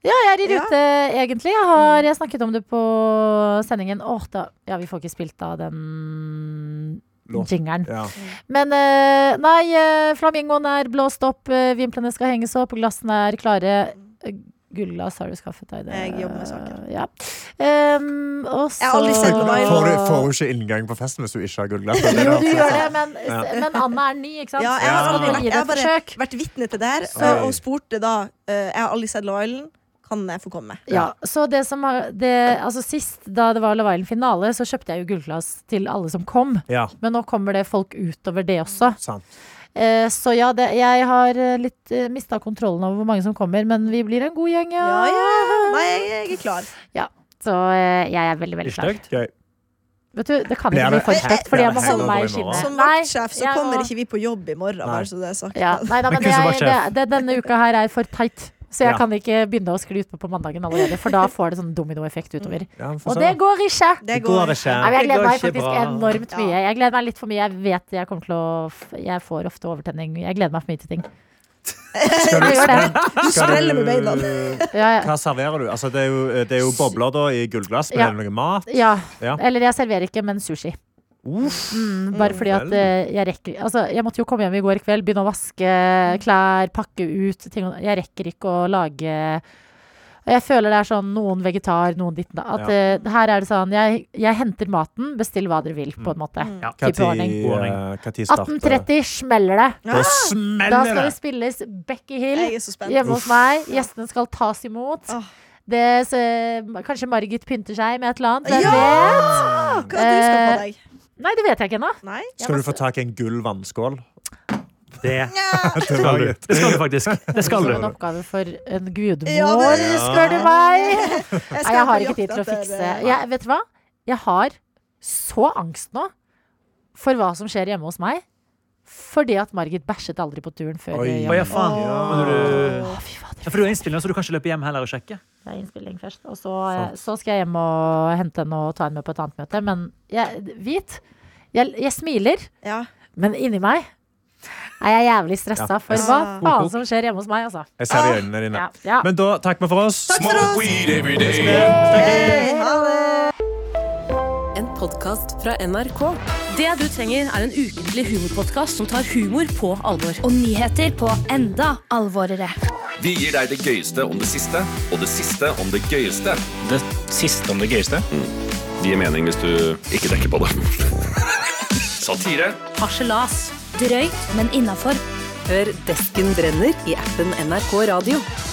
[SPEAKER 6] Ja, jeg er i
[SPEAKER 3] Ja.
[SPEAKER 6] rute, egentlig. Jeg har jeg snakket om det på sendingen. Åh, da, ja, vi får ikke spilt da den
[SPEAKER 5] Låt.
[SPEAKER 6] jingeren.
[SPEAKER 5] Ja.
[SPEAKER 6] Men eh, nei, eh, flamingoen er blåst opp, eh, vimplene skal henges opp, glassene er klare. Eh, Gullglass har du skaffet deg. det-
[SPEAKER 3] Jeg jobber med saker.
[SPEAKER 6] Ja. Em, og så
[SPEAKER 3] Jeg har aldri sett Love Island.
[SPEAKER 5] Får du, får du ikke inngang på festen hvis du ikke har gullglass? Det er
[SPEAKER 6] Jo, du
[SPEAKER 5] det.
[SPEAKER 6] gjør det, men,
[SPEAKER 5] Ja.
[SPEAKER 6] men Anna er ny, ikke sant?
[SPEAKER 3] Ja, jeg har
[SPEAKER 6] Så
[SPEAKER 3] aldri
[SPEAKER 6] vi
[SPEAKER 3] vært- jeg
[SPEAKER 6] gir det
[SPEAKER 3] har
[SPEAKER 6] et
[SPEAKER 3] bare-
[SPEAKER 6] forsøk.
[SPEAKER 3] Vært vitne til det her.
[SPEAKER 5] Oi.
[SPEAKER 3] Og spurte da eh, Jeg har aldri sett Love Island. Kan jeg få komme?
[SPEAKER 6] Ja, så det som har det, Altså sist, da det var Love Island-finale, så kjøpte jeg jo gullglass til alle som kom.
[SPEAKER 5] Ja,
[SPEAKER 6] Men nå kommer det folk utover det også.
[SPEAKER 5] sant.
[SPEAKER 6] Eh, så ja, det, jeg har eh, litt eh, mista kontrollen over hvor mange som kommer, men vi blir en god gjeng,
[SPEAKER 3] Ja,
[SPEAKER 6] ja.
[SPEAKER 3] ja. Nei, jeg er klar.
[SPEAKER 6] Så eh, jeg er veldig, veldig
[SPEAKER 5] Ikke
[SPEAKER 6] klar.
[SPEAKER 5] stygt. Gøy.
[SPEAKER 6] Vet du, det kan
[SPEAKER 5] Blir
[SPEAKER 6] ikke
[SPEAKER 5] det-
[SPEAKER 6] bli for stygt, fordi
[SPEAKER 5] Blir det
[SPEAKER 6] jeg må holde meg
[SPEAKER 5] hangover
[SPEAKER 6] i
[SPEAKER 5] i morgen?
[SPEAKER 6] skinnet.
[SPEAKER 3] Som
[SPEAKER 6] Nei,
[SPEAKER 3] vaktsjef så
[SPEAKER 6] jeg
[SPEAKER 3] kommer
[SPEAKER 6] må-
[SPEAKER 3] ikke vi på jobb i morgen. Bare så det er sagt.
[SPEAKER 6] ja, Nei da,
[SPEAKER 5] Men
[SPEAKER 6] men det,
[SPEAKER 5] kun som
[SPEAKER 6] er- det,
[SPEAKER 5] vaktsjef.
[SPEAKER 6] det, denne uka her er for tight. Så jeg
[SPEAKER 5] Ja.
[SPEAKER 6] kan ikke begynne å skli utpå på mandagen allerede, for da får det sånn dominoeffekt utover.
[SPEAKER 5] Mm. Sånn, Ja, vi får
[SPEAKER 6] Og
[SPEAKER 5] se
[SPEAKER 6] det
[SPEAKER 5] da.
[SPEAKER 6] går ikke!
[SPEAKER 3] Det
[SPEAKER 5] Det
[SPEAKER 3] går.
[SPEAKER 5] går ikke.
[SPEAKER 6] Nei, men jeg
[SPEAKER 4] Det
[SPEAKER 6] gleder
[SPEAKER 4] går
[SPEAKER 6] meg
[SPEAKER 4] ikke
[SPEAKER 6] faktisk
[SPEAKER 4] bra.
[SPEAKER 6] enormt
[SPEAKER 3] Ja.
[SPEAKER 6] mye. Jeg gleder meg litt for mye. Jeg vet jeg kommer til å f- Jeg får ofte overtenning. Jeg gleder meg for mye til ting.
[SPEAKER 5] Skal du-
[SPEAKER 6] Jeg gjør det.
[SPEAKER 5] skal du-
[SPEAKER 3] skreller med beina.
[SPEAKER 6] Ja, ja.
[SPEAKER 5] Hva serverer du? Altså, det, er jo, det er jo bobler da, i gullglass, men
[SPEAKER 6] Ja.
[SPEAKER 5] er det noe mat?
[SPEAKER 6] ja.
[SPEAKER 5] Ja.
[SPEAKER 6] Eller jeg serverer ikke, men sushi. Mm, bare fordi at
[SPEAKER 5] Vel.
[SPEAKER 6] eh, jeg rekker Altså, jeg måtte jo komme hjem i går kveld, begynne å vaske klær, pakke ut ting. og- Jeg rekker ikke å lage og jeg føler det er sånn noen vegetar, noen ditt da. At
[SPEAKER 5] Ja.
[SPEAKER 6] eh, her er det sånn jeg, jeg henter maten, bestill hva dere vil, på en måte.
[SPEAKER 4] Ja.
[SPEAKER 5] Hva
[SPEAKER 6] Type ordning. Ah!
[SPEAKER 5] tid, eh, hva tid starter
[SPEAKER 6] 18.30 smeller det.
[SPEAKER 5] Da
[SPEAKER 6] Da
[SPEAKER 5] smeller
[SPEAKER 6] skal det
[SPEAKER 5] det!
[SPEAKER 6] spilles Becky Hill.
[SPEAKER 3] Jeg er så spent.
[SPEAKER 6] Hjemme hos meg. Gjestene skal tas imot.
[SPEAKER 3] Åh.
[SPEAKER 6] Det, så, kanskje Margit pynter seg med et eller annet. Hvem vet?
[SPEAKER 3] Ja! Hva du skal på
[SPEAKER 6] Eh,
[SPEAKER 3] deg?
[SPEAKER 6] Nei, det vet jeg ikke ennå.
[SPEAKER 3] Nei?
[SPEAKER 5] Skal du få tak i en gull vannskål?
[SPEAKER 4] Det
[SPEAKER 3] Ja. Sånn.
[SPEAKER 4] skal du. Det skal du faktisk. Det skal
[SPEAKER 3] <laughs>
[SPEAKER 6] Som
[SPEAKER 4] du.
[SPEAKER 6] en oppgave for en gudmor,
[SPEAKER 3] Ja, det-
[SPEAKER 6] spør du meg.
[SPEAKER 3] <laughs> Jeg,
[SPEAKER 6] Nei, jeg har ikke tid til å fikse
[SPEAKER 3] eh,
[SPEAKER 6] jeg, Vet du hva? Jeg har så angst nå for hva som skjer hjemme hos meg. Fordi at Margit bæsjet aldri på turen før.
[SPEAKER 5] Oi.
[SPEAKER 6] eh,
[SPEAKER 4] Å ja,
[SPEAKER 6] jobben.
[SPEAKER 4] faen. Men du-
[SPEAKER 6] Å, fy fader.
[SPEAKER 4] Ja, for du er innspillende, så du kan ikke løpe hjem heller og sjekke.
[SPEAKER 6] Det er innspilling først. Og så, eh, så skal jeg hjem og hente henne og ta henne med på et annet møte. Men jeg, hvit. Jeg, jeg smiler,
[SPEAKER 3] ja.
[SPEAKER 6] men inni meg er jeg jævlig stressa
[SPEAKER 5] Ja.
[SPEAKER 6] for hva
[SPEAKER 3] Ah.
[SPEAKER 6] faen som skjer hjemme hos meg, altså.
[SPEAKER 5] Jeg ser det i øynene dine.
[SPEAKER 6] Ja, ja.
[SPEAKER 5] Men da takker vi for oss.
[SPEAKER 8] Smoke weed every day.
[SPEAKER 3] Hei, ha det.
[SPEAKER 9] En podkast fra NRK. Det du trenger, er en ukentlig humorpodkast som tar humor på alvor.
[SPEAKER 10] og nyheter på enda alvorere.
[SPEAKER 8] Vi gir deg det gøyeste om det siste, og det siste om det gøyeste. Det siste om det gøyeste? Mm. Det gir mening hvis du ikke tenker på det. Satire.
[SPEAKER 9] Harselas.
[SPEAKER 10] Drøyt, men innafor.
[SPEAKER 9] Hør Desken brenner i appen NRK Radio.